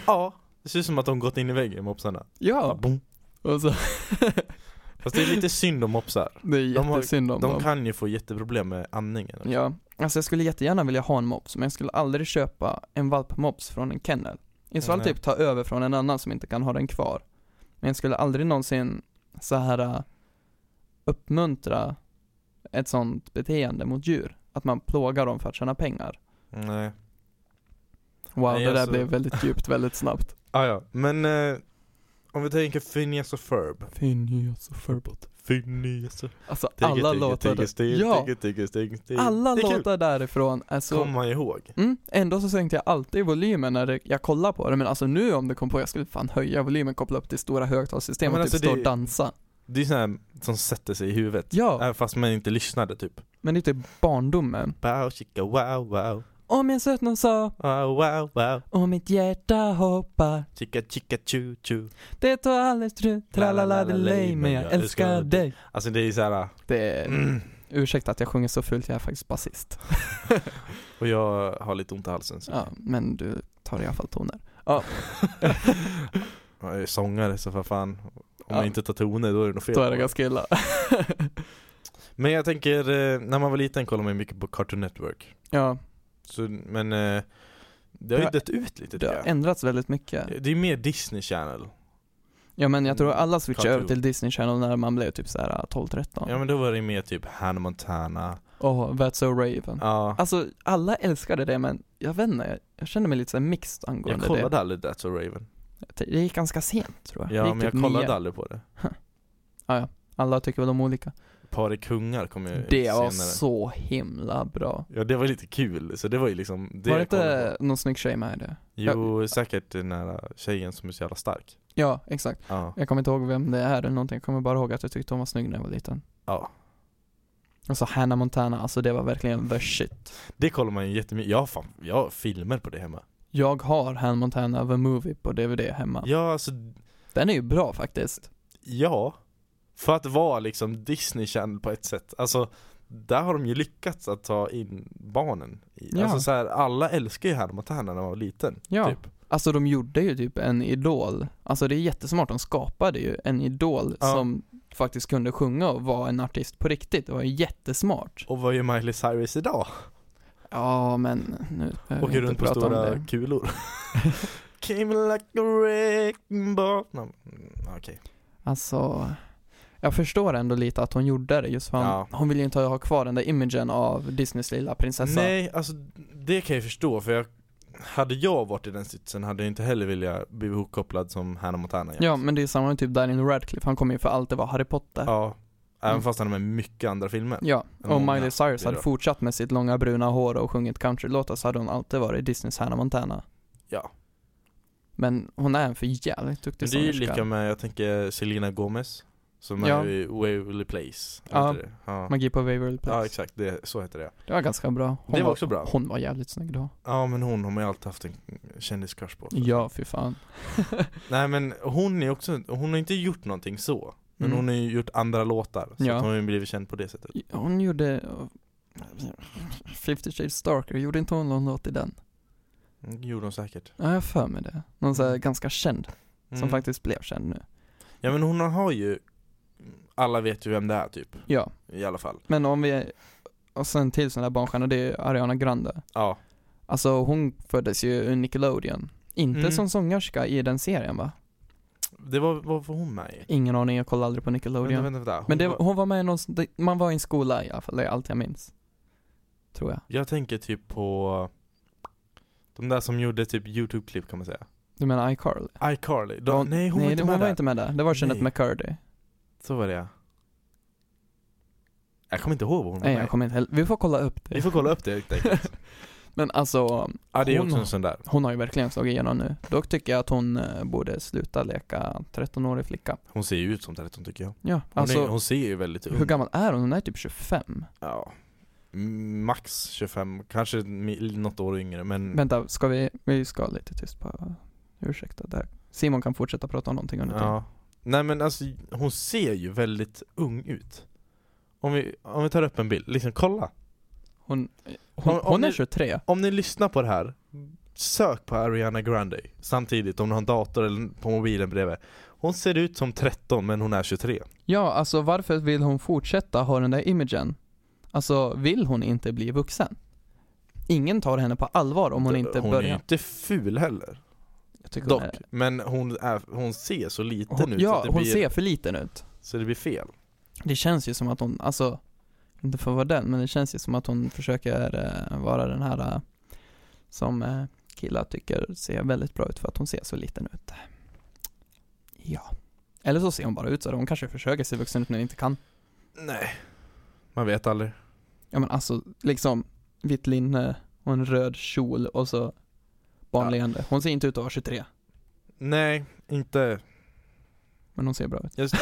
[SPEAKER 2] Ja, det ser ut som att de gått in i väggen mopsarna. Ja,
[SPEAKER 1] Ja,
[SPEAKER 2] boom.
[SPEAKER 1] och så,
[SPEAKER 2] Fast det är lite synd om mopsar.
[SPEAKER 1] det är
[SPEAKER 2] De har-
[SPEAKER 1] jättesynd om
[SPEAKER 2] De
[SPEAKER 1] dem.
[SPEAKER 2] kan ju få jätteproblem med andningen.
[SPEAKER 1] Ja, alltså jag skulle jättegärna vilja ha en mops, men jag skulle aldrig köpa en valpmops från en kennel. I så fall
[SPEAKER 2] Nej.
[SPEAKER 1] typ ta över från en annan som inte kan ha den kvar. Men jag skulle aldrig någonsin så här äh, uppmuntra ett sånt beteende mot djur. Att man plågar dem för att tjäna pengar.
[SPEAKER 2] Nej.
[SPEAKER 1] Wow,
[SPEAKER 2] Nej,
[SPEAKER 1] det där
[SPEAKER 2] alltså-
[SPEAKER 1] blev väldigt djupt väldigt snabbt.
[SPEAKER 2] Ah, ja. Men eh, om vi tänker Phineas och Ferb. alltså,
[SPEAKER 1] Phineas och Ferbot.
[SPEAKER 2] Phineas och
[SPEAKER 1] Alltså alla låtar,
[SPEAKER 2] Tigger, tigger,
[SPEAKER 1] ja,
[SPEAKER 2] tigger, tigger, tigger, tigger.
[SPEAKER 1] alla
[SPEAKER 2] Det är kul.
[SPEAKER 1] låtar därifrån är så
[SPEAKER 2] Kommer man ihåg.
[SPEAKER 1] Mm, ändå så sänkte jag alltid volymen när det- jag kollar på det, men alltså nu om det kom på, jag skulle fan höja volymen, koppla upp till stora högtalarsystemet
[SPEAKER 2] Ja, men
[SPEAKER 1] och
[SPEAKER 2] alltså
[SPEAKER 1] typ stå
[SPEAKER 2] det-
[SPEAKER 1] och dansa.
[SPEAKER 2] Det är sån här som sätter sig i huvudet.
[SPEAKER 1] Ja,
[SPEAKER 2] Även fast man inte lyssnade typ.
[SPEAKER 1] men det är typ barndomen.
[SPEAKER 2] Bow, chicka, wow, wow.
[SPEAKER 1] Om jag sett någon sa,
[SPEAKER 2] Wow, wow, wow.
[SPEAKER 1] och mitt hjärta hoppar,
[SPEAKER 2] Chicka, chicka, chu, chu.
[SPEAKER 1] det tar alldeles trut, tralala delay, men jag älskar dig.
[SPEAKER 2] Alltså det är så här.
[SPEAKER 1] Det är,
[SPEAKER 2] Mm.
[SPEAKER 1] ursäkta att jag sjunger så fult, jag är faktiskt basist.
[SPEAKER 2] Och jag har lite ont i halsen. Så.
[SPEAKER 1] Ja, men du tar i alla fall toner. Ja,
[SPEAKER 2] Jag är sångare så för fan. Om
[SPEAKER 1] Ja.
[SPEAKER 2] jag inte tar toner då är det nog fel.
[SPEAKER 1] då är det ganska illa.
[SPEAKER 2] Men jag tänker, eh, när man var liten kollade man mycket på Cartoon Network.
[SPEAKER 1] Ja,
[SPEAKER 2] Så, men eh, det har ju
[SPEAKER 1] Ja.
[SPEAKER 2] dött ut lite
[SPEAKER 1] det
[SPEAKER 2] tycker
[SPEAKER 1] har
[SPEAKER 2] jag.
[SPEAKER 1] ändrats väldigt mycket.
[SPEAKER 2] Det Mm. är mer Disney Channel.
[SPEAKER 1] Ja men jag tror alla switchade
[SPEAKER 2] Cartoon.
[SPEAKER 1] över till Disney Channel när man blev typ såhär 12-13.
[SPEAKER 2] Ja men då var det mer typ Hannah Montana.
[SPEAKER 1] Åh, That's So Raven.
[SPEAKER 2] Ja.
[SPEAKER 1] Alltså alla älskade det men jag vet inte, jag kände mig lite såhär mixed
[SPEAKER 2] Jag
[SPEAKER 1] angående
[SPEAKER 2] kollade
[SPEAKER 1] det.
[SPEAKER 2] aldrig That's so Raven.
[SPEAKER 1] Det gick ganska sent tror jag. det
[SPEAKER 2] Ja
[SPEAKER 1] gick
[SPEAKER 2] men jag
[SPEAKER 1] typ
[SPEAKER 2] kollade
[SPEAKER 1] nio.
[SPEAKER 2] aldrig på det.
[SPEAKER 1] Alla tycker väl om olika.
[SPEAKER 2] Par i kungar kom ju
[SPEAKER 1] Det
[SPEAKER 2] Eh, senare.
[SPEAKER 1] var så himla bra.
[SPEAKER 2] Ja det var lite kul, så det var ju liksom det
[SPEAKER 1] var det
[SPEAKER 2] jag kollade på.
[SPEAKER 1] inte någon snygg tjej med i det?
[SPEAKER 2] Jo, säkert den här tjejen som är så jävla stark.
[SPEAKER 1] Ja, exakt.
[SPEAKER 2] Ja.
[SPEAKER 1] Jag kommer inte ihåg vem det är eller någonting, jag kommer bara ihåg att jag tyckte hon var snygg när jag var liten.
[SPEAKER 2] ja.
[SPEAKER 1] Och så Hannah Montana, alltså det var verkligen the shit.
[SPEAKER 2] Det kollar man ju jättemycket, jag har fan, jag har filmer på det hemma.
[SPEAKER 1] Jag har Hannah Montana the Movie på DVD hemma.
[SPEAKER 2] Ja alltså,
[SPEAKER 1] Den är ju bra faktiskt.
[SPEAKER 2] ja. För att vara liksom Disney Channel på ett sätt, alltså där har de ju lyckats att ta in barnen. I.
[SPEAKER 1] Ja.
[SPEAKER 2] Alltså så här, alla älskar ju Hannah Montana när man var liten.
[SPEAKER 1] Ja.
[SPEAKER 2] Typ.
[SPEAKER 1] Alltså de gjorde ju typ en idol, alltså det är jättesmart, de skapade ju en idol
[SPEAKER 2] Ja.
[SPEAKER 1] som faktiskt kunde sjunga och vara en artist på riktigt, det var ju jättesmart.
[SPEAKER 2] Och vad gör Miley Cyrus idag?
[SPEAKER 1] Ja men nu behöver vi inte
[SPEAKER 2] Åker runt på
[SPEAKER 1] prata om
[SPEAKER 2] stora
[SPEAKER 1] det.
[SPEAKER 2] kulor. Came like a wrecking ball. No. mm, Okej.
[SPEAKER 1] Alltså, jag förstår ändå lite att hon gjorde det just för hon,
[SPEAKER 2] Ja.
[SPEAKER 1] hon vill ju inte ha kvar den där imagen av Disneys lilla prinsessa.
[SPEAKER 2] Nej, alltså det kan jag förstå för jag hade jag varit i den sitsen hade jag inte heller vilja bli ihopkopplad som Hannah Montana igen.
[SPEAKER 1] Ja men det är samma med typ Daniel Radcliffe, han kommer ju för allt det var Harry Potter.
[SPEAKER 2] ja. Även
[SPEAKER 1] Mm.
[SPEAKER 2] fast han har med mycket andra filmer.
[SPEAKER 1] Ja,
[SPEAKER 2] Än
[SPEAKER 1] Typ. om
[SPEAKER 2] många
[SPEAKER 1] Miley Cyrus
[SPEAKER 2] blir
[SPEAKER 1] hade
[SPEAKER 2] då.
[SPEAKER 1] fortsatt med sitt långa bruna hår och sjungit countrylåtar så hade hon alltid varit Disneys Hannah Montana.
[SPEAKER 2] Ja.
[SPEAKER 1] Men hon är en för jävligt duktig
[SPEAKER 2] Men det är ju
[SPEAKER 1] sångerska.
[SPEAKER 2] lika med, jag tänker Selena Gomez Som är
[SPEAKER 1] Ja.
[SPEAKER 2] i Waverly Place.
[SPEAKER 1] Ja.
[SPEAKER 2] heter det. ja.
[SPEAKER 1] Magi på Waverly Place.
[SPEAKER 2] ja exakt, det, så heter det.
[SPEAKER 1] Det var ganska bra. Hon
[SPEAKER 2] Det var också bra.
[SPEAKER 1] Hon var jävligt snygg då.
[SPEAKER 2] Ja men hon har man ju alltid haft en kändiscrush på.
[SPEAKER 1] Ja, fy fan.
[SPEAKER 2] Nej men hon är också, hon har inte gjort någonting så. Men
[SPEAKER 1] Mm.
[SPEAKER 2] hon har ju gjort andra låtar. Så
[SPEAKER 1] Ja.
[SPEAKER 2] att hon har ju blivit känd på det sättet.
[SPEAKER 1] Hon gjorde... eh, 50 Shades Darker, gjorde inte hon någon låt i den?
[SPEAKER 2] Mm, Gjorde hon säkert.
[SPEAKER 1] Ja, jag har för mig det. Någon så här ganska känd,
[SPEAKER 2] Mm.
[SPEAKER 1] som faktiskt blev känd nu.
[SPEAKER 2] Ja men hon har ju, alla vet ju vem det är typ.
[SPEAKER 1] Ja,
[SPEAKER 2] I alla fall.
[SPEAKER 1] men om vi... Och sen till sån där barnstjärna, det är Ariana Grande.
[SPEAKER 2] Ja.
[SPEAKER 1] Alltså hon föddes ju ur Nickelodeon. Inte
[SPEAKER 2] Mm.
[SPEAKER 1] som sångerska i den serien va?
[SPEAKER 2] Det var, vad var hon med i?
[SPEAKER 1] Ingen aning, jag kollade aldrig på Nickelodeon.
[SPEAKER 2] Vänta, vänta, vänta. Hon
[SPEAKER 1] Men det,
[SPEAKER 2] var-
[SPEAKER 1] var- hon var med i någon, sån- det- man var i en skola i alla fall, det är allt jag minns. Tror jag.
[SPEAKER 2] Jag tänker typ på de där som gjorde typ YouTube-klipp kan man säga.
[SPEAKER 1] Du menar iCarly?
[SPEAKER 2] iCarly. De,
[SPEAKER 1] Hon-
[SPEAKER 2] nej hon var
[SPEAKER 1] nej,
[SPEAKER 2] inte
[SPEAKER 1] hon
[SPEAKER 2] med
[SPEAKER 1] var
[SPEAKER 2] där.
[SPEAKER 1] inte med där. Det var Kenneth
[SPEAKER 2] Nej.
[SPEAKER 1] McCurdy.
[SPEAKER 2] Så var det ja. Jag kommer inte ihåg vad hon var
[SPEAKER 1] Nej,
[SPEAKER 2] med i.
[SPEAKER 1] jag kommer inte heller. Vi får kolla upp det.
[SPEAKER 2] Vi får kolla upp det helt enkelt.
[SPEAKER 1] Men alltså,
[SPEAKER 2] Ja det är
[SPEAKER 1] Hon
[SPEAKER 2] också
[SPEAKER 1] har-
[SPEAKER 2] en sån där.
[SPEAKER 1] hon har ju verkligen slagit igenom nu. Dock tycker jag att hon eh, borde sluta leka 13-årig flicka.
[SPEAKER 2] Hon ser ju ut som 13 tycker jag.
[SPEAKER 1] Ja,
[SPEAKER 2] Hon,
[SPEAKER 1] alltså.
[SPEAKER 2] är, hon ser ju väldigt ung
[SPEAKER 1] hur gammal är hon? Hon är typ 25.
[SPEAKER 2] Ja. Mm, Max 25, kanske mi- något år yngre men
[SPEAKER 1] Vänta, ska vi, vi ska lite tyst bara. Ursäkta där. Simon kan fortsätta prata om någonting under tiden.
[SPEAKER 2] ja. Nej men alltså hon ser ju väldigt ung ut. Om vi, om vi tar upp en bild, liksom kolla.
[SPEAKER 1] Hon, hon,
[SPEAKER 2] Om- om
[SPEAKER 1] hon är
[SPEAKER 2] ni-
[SPEAKER 1] 23.
[SPEAKER 2] Om ni lyssnar på det här, sök på Ariana Grande samtidigt om ni har en dator eller på mobilen bredvid. Hon ser ut som 13 men hon är 23.
[SPEAKER 1] Ja, alltså varför vill hon fortsätta ha den där imagen? Alltså, vill hon inte bli vuxen? Ingen tar henne på allvar om hon inte
[SPEAKER 2] hon är ju
[SPEAKER 1] börjar.
[SPEAKER 2] inte ful heller.
[SPEAKER 1] Jag tycker
[SPEAKER 2] Dock,
[SPEAKER 1] hon är-
[SPEAKER 2] men hon, är, hon ser så liten
[SPEAKER 1] hon,
[SPEAKER 2] ut så,
[SPEAKER 1] ja,
[SPEAKER 2] att det
[SPEAKER 1] hon
[SPEAKER 2] blir,
[SPEAKER 1] ser för liten ut.
[SPEAKER 2] så det blir fel.
[SPEAKER 1] Det känns ju som att hon, alltså, inte för att vara den, men det känns ju som att hon försöker eh, vara den här eh, som eh, killar tycker ser väldigt bra ut för att hon ser så liten ut. Ja. Eller så ser hon bara ut så, hon kanske försöker se vuxen ut men inte kan.
[SPEAKER 2] Nej, man vet aldrig.
[SPEAKER 1] Ja men alltså, liksom vitt linne och en röd kjol och så barnleende. Hon ser inte ut att vara 23,
[SPEAKER 2] Nej, inte
[SPEAKER 1] men hon ser bra ut.
[SPEAKER 2] Just-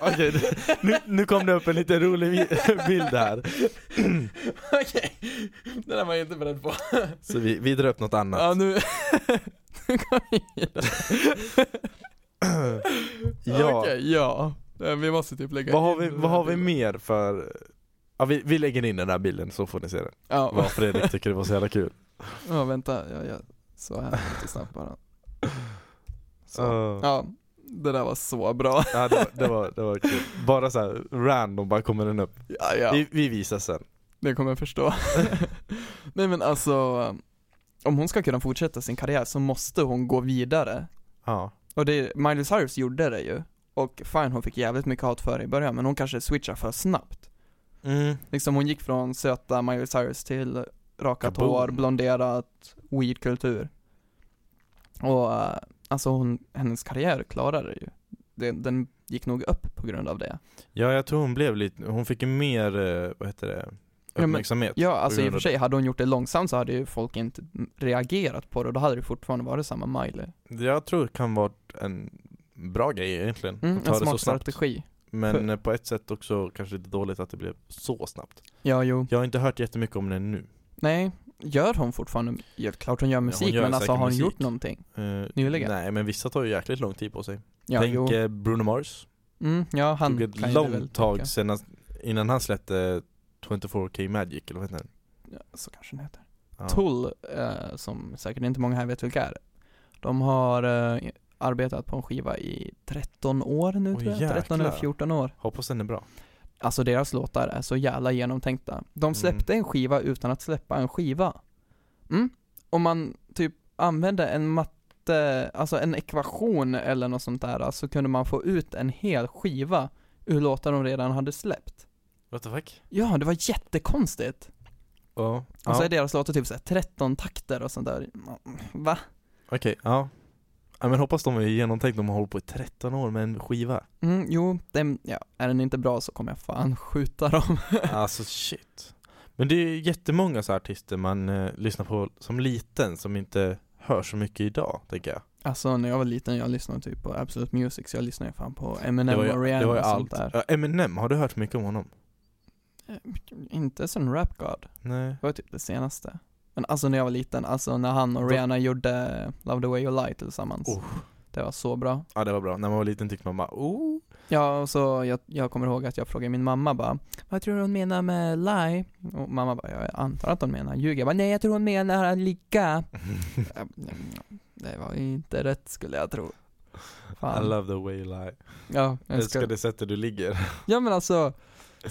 [SPEAKER 2] Okej, nu, nu kom det upp en lite rolig vi- bild här.
[SPEAKER 1] Okej, det där var jag inte beredd på.
[SPEAKER 2] Så vi, vi drar upp något annat.
[SPEAKER 1] Ja nu, nu går vi vidare.
[SPEAKER 2] ja,
[SPEAKER 1] Okej, ja. Eh, Vi måste typ lägga
[SPEAKER 2] vad har
[SPEAKER 1] in
[SPEAKER 2] vi,
[SPEAKER 1] den
[SPEAKER 2] vad
[SPEAKER 1] här
[SPEAKER 2] har vi
[SPEAKER 1] bilden.
[SPEAKER 2] mer för... Ja, vi, vi lägger in den här bilden så får ni se den.
[SPEAKER 1] Ja,
[SPEAKER 2] Vad Fredrik tycker det var så jävla kul.
[SPEAKER 1] ja vänta, jag, jag så här lite snabbt bara. Så.
[SPEAKER 2] Uh, ja,
[SPEAKER 1] Ja, det där var så bra.
[SPEAKER 2] det, var, det, var, det var kul. Bara så här random bara kommer den upp.
[SPEAKER 1] Ja, ja.
[SPEAKER 2] Vi, vi visar sen.
[SPEAKER 1] Det kommer jag förstå. Nej men alltså, om hon ska kunna fortsätta sin karriär så måste hon gå vidare.
[SPEAKER 2] Ja.
[SPEAKER 1] Och det, Miley Cyrus gjorde det ju. Och fine, hon fick jävligt mycket hat för det i början, men hon kanske switchar för snabbt.
[SPEAKER 2] Mm.
[SPEAKER 1] Liksom hon gick från söta Miley Cyrus till rakat
[SPEAKER 2] Kaboom.
[SPEAKER 1] hår, blonderat, weedkultur. Och eh, alltså hon, hennes karriär klarade det ju. Den, den gick nog upp på grund av det.
[SPEAKER 2] Ja, jag tror hon blev lite, hon fick ju mer, eh, vad heter det,
[SPEAKER 1] men-
[SPEAKER 2] uppmärksamhet.
[SPEAKER 1] Ja, alltså i och
[SPEAKER 2] grund
[SPEAKER 1] för
[SPEAKER 2] av-
[SPEAKER 1] sig, hade hon gjort det långsamt så hade ju folk inte reagerat på det och då hade det fortfarande varit samma Miley.
[SPEAKER 2] Jag tror det kan vara en bra grej egentligen.
[SPEAKER 1] Mm,
[SPEAKER 2] att
[SPEAKER 1] en
[SPEAKER 2] ta det så
[SPEAKER 1] smart
[SPEAKER 2] snabbt.
[SPEAKER 1] strategi.
[SPEAKER 2] Men
[SPEAKER 1] För-
[SPEAKER 2] eh, på ett sätt också kanske lite dåligt att det blev så snabbt.
[SPEAKER 1] Ja, jo.
[SPEAKER 2] Jag har inte hört jättemycket om den nu.
[SPEAKER 1] Nej, gör hon fortfarande, ja, klart hon gör musik,
[SPEAKER 2] gör
[SPEAKER 1] men alltså
[SPEAKER 2] säkert
[SPEAKER 1] har hon
[SPEAKER 2] musik.
[SPEAKER 1] gjort någonting?
[SPEAKER 2] Uh,
[SPEAKER 1] Nyligen.
[SPEAKER 2] Nej, men vissa tar ju jäkligt lång tid på sig.
[SPEAKER 1] Ja,
[SPEAKER 2] Tänk
[SPEAKER 1] jo.
[SPEAKER 2] eh, Bruno Mars.
[SPEAKER 1] Mm, ja, han
[SPEAKER 2] tog
[SPEAKER 1] kan
[SPEAKER 2] ett
[SPEAKER 1] ju det väl
[SPEAKER 2] långt
[SPEAKER 1] tycka.
[SPEAKER 2] tag sedan, innan han släppte 24K Magic, eller vad heter den?
[SPEAKER 1] Ja, så kanske den heter.
[SPEAKER 2] Ja.
[SPEAKER 1] Tull, eh, som säkert inte många här vet vilka är, de har eh, arbetat på en skiva i 13 år nu
[SPEAKER 2] Oj,
[SPEAKER 1] tror jag, 13 eller
[SPEAKER 2] jäklar.
[SPEAKER 1] 14 år.
[SPEAKER 2] Hoppas den är bra.
[SPEAKER 1] Alltså deras låtar är så jävla genomtänkta.
[SPEAKER 2] Mm.
[SPEAKER 1] De släppte en skiva utan att släppa en skiva. Mm? Om man typ använde en matte, alltså en ekvation eller något sånt där, så kunde man få ut en hel skiva ur låtar de redan hade släppt.
[SPEAKER 2] What the fuck?
[SPEAKER 1] Ja, det var jättekonstigt.
[SPEAKER 2] Ja.
[SPEAKER 1] Och så
[SPEAKER 2] ja.
[SPEAKER 1] är deras låtar typ såhär 13 takter och sånt där. Va?
[SPEAKER 2] Okej, ja. ja. men hoppas de är genomtänkta, de har hållit på i 13 år med en skiva.
[SPEAKER 1] Mm, jo, den, ja, är den inte bra så kommer jag fan skjuta dem.
[SPEAKER 2] Alltså shit. Men det är ju jättemånga så här artister man eh, lyssnar på som liten som inte hör så mycket idag, tänker jag.
[SPEAKER 1] Alltså när jag var liten, jag lyssnade typ på Absolute Music, så jag lyssnade ju fan på
[SPEAKER 2] Det
[SPEAKER 1] Eminem
[SPEAKER 2] var ju,
[SPEAKER 1] och Rihanna
[SPEAKER 2] det var ju
[SPEAKER 1] och
[SPEAKER 2] allt.
[SPEAKER 1] sånt där.
[SPEAKER 2] Ja, Eminem, har du hört mycket om honom?
[SPEAKER 1] Inte sen Rap God,
[SPEAKER 2] Nej.
[SPEAKER 1] det var typ det senaste. Men alltså när jag var liten, alltså när han och
[SPEAKER 2] De-
[SPEAKER 1] Rihanna gjorde Love the way you lie tillsammans.
[SPEAKER 2] Oh.
[SPEAKER 1] Det var så bra.
[SPEAKER 2] Ja det var bra, när man var liten tyckte man bara oh.
[SPEAKER 1] Ja, och så jag, jag kommer ihåg att jag frågade min mamma bara, vad tror du hon menar med lie? Och mamma bara, jag antar att hon menar ljuga. Jag bara, nej jag tror hon menar ligga. Ja, Det var ju inte rätt skulle jag tro.
[SPEAKER 2] I
[SPEAKER 1] Fan.
[SPEAKER 2] love the way you lie.
[SPEAKER 1] Ja, jag
[SPEAKER 2] Älskar
[SPEAKER 1] ska...
[SPEAKER 2] det sättet du ligger.
[SPEAKER 1] ja men alltså,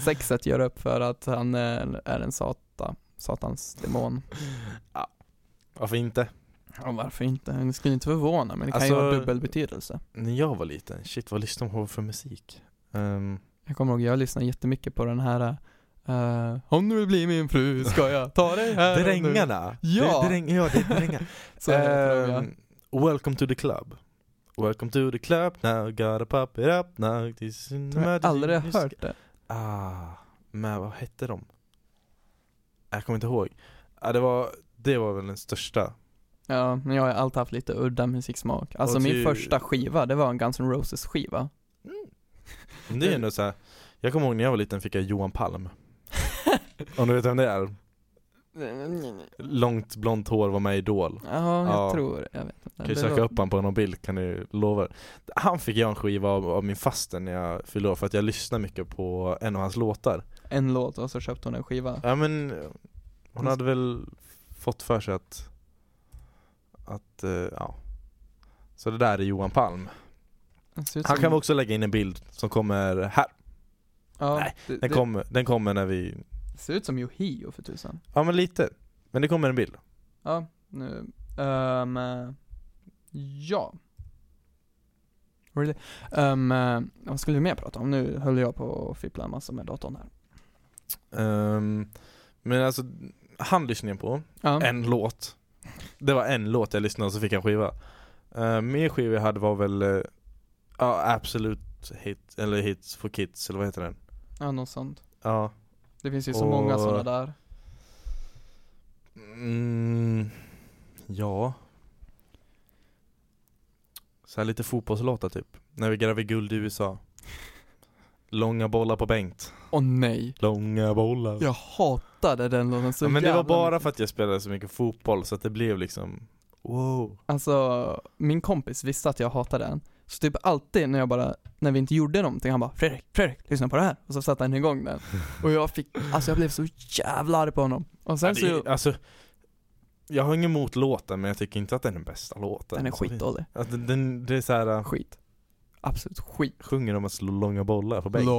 [SPEAKER 1] sexet gör upp för att han är, är en sata, satans demon.
[SPEAKER 2] Varför inte?
[SPEAKER 1] Ja, varför inte? Det skulle inte förvåna, men det kan ju
[SPEAKER 2] Alltså-
[SPEAKER 1] ha dubbelbetydelse.
[SPEAKER 2] När jag var liten, shit vad lyssnade hon på för musik? Ehm,
[SPEAKER 1] Jag kommer ihåg, jag lyssnade jättemycket på den här eh, Om du vill bli min fru ska jag ta dig här och nu."
[SPEAKER 2] drängarna!
[SPEAKER 1] Äh, Ja.
[SPEAKER 2] Det, dräng, ja, det är drängar.
[SPEAKER 1] Så tror jag.
[SPEAKER 2] Ehm, welcome to the club. Welcome to the club now, gotta pop it up now. This is
[SPEAKER 1] Jag har
[SPEAKER 2] emergency
[SPEAKER 1] aldrig
[SPEAKER 2] music.
[SPEAKER 1] hört det.
[SPEAKER 2] Ah, men vad hette de? Jag kommer inte ihåg. Ja, det, var, det var väl den största.
[SPEAKER 1] Ja, men jag har alltid haft lite udda musiksmak. Alltså
[SPEAKER 2] Och typ-
[SPEAKER 1] min
[SPEAKER 2] ty-
[SPEAKER 1] första skiva, det var en Guns N' Roses skiva.
[SPEAKER 2] Men Det är ändå så här. jag kommer ihåg när jag var liten fick jag Johan Palm. Om du vet vem det är? Långt blont hår var med i Idol.
[SPEAKER 1] Ja, jag
[SPEAKER 2] Ja.
[SPEAKER 1] tror, jag vet inte.
[SPEAKER 2] Kan ju
[SPEAKER 1] Det
[SPEAKER 2] söka
[SPEAKER 1] var-
[SPEAKER 2] upp han på någon bild kan ni lova. Han fick jag en skiva av, av min faster när jag fyllde år för att jag lyssnade mycket på en av hans låtar.
[SPEAKER 1] En låt och så köpte hon en skiva.
[SPEAKER 2] Ja men hon hade väl fått för sig att, att eh, ja. Så det där är Johan Palm.
[SPEAKER 1] Det ser ut
[SPEAKER 2] Han
[SPEAKER 1] som-
[SPEAKER 2] kan vi också lägga in en bild som kommer här.
[SPEAKER 1] ja,
[SPEAKER 2] Nej,
[SPEAKER 1] det,
[SPEAKER 2] Den,
[SPEAKER 1] det
[SPEAKER 2] kommer- den kommer när vi,
[SPEAKER 1] ser ut som Yohio för tusan.
[SPEAKER 2] ja men lite. Men det kommer en bild.
[SPEAKER 1] Ja, nu. Ehm, eh, ja. Really? Ehm, eh, vad skulle vi mer prata om? Nu höll jag på att fippla en massa med datorn här.
[SPEAKER 2] Ehm, men alltså, han lyssnade jag på.
[SPEAKER 1] Ja.
[SPEAKER 2] en låt. Det var en låt jag lyssnade och så fick jag en skiva. Uh, mer skiva jag hade var väl eh, ja Absolute Hit, eller Hits for Kids, eller vad heter den?
[SPEAKER 1] ja, något sånt.
[SPEAKER 2] Ja.
[SPEAKER 1] Det finns ju så
[SPEAKER 2] Och-
[SPEAKER 1] många sådana där.
[SPEAKER 2] Mm, ja. Så här lite fotbollslåtar typ. När vi gräver guld i USA. Långa bollar på Bengt.
[SPEAKER 1] Åh nej.
[SPEAKER 2] Långa bollar.
[SPEAKER 1] Jag hatade den låten så
[SPEAKER 2] Ja, men det var
[SPEAKER 1] jävla
[SPEAKER 2] bara
[SPEAKER 1] mycket.
[SPEAKER 2] för att jag spelade så mycket fotboll så att det blev liksom Wow.
[SPEAKER 1] Alltså, min kompis visste att jag hatade den. Så typ alltid när jag bara, när vi inte gjorde någonting, han bara 'Fredrik, Fredrik, lyssna på det här' och så satte han igång den. Och jag fick, alltså jag blev så jävla arg på honom. Och sen
[SPEAKER 2] Ja,
[SPEAKER 1] så,
[SPEAKER 2] det, alltså, jag har ingen emot låten men jag tycker inte att den är den bästa låten.
[SPEAKER 1] den är
[SPEAKER 2] Alltså,
[SPEAKER 1] skitdålig.
[SPEAKER 2] det- Att den, den, det är så här, äh,
[SPEAKER 1] Skit. Absolut skit.
[SPEAKER 2] sjunger om att slå långa bollar på bänken.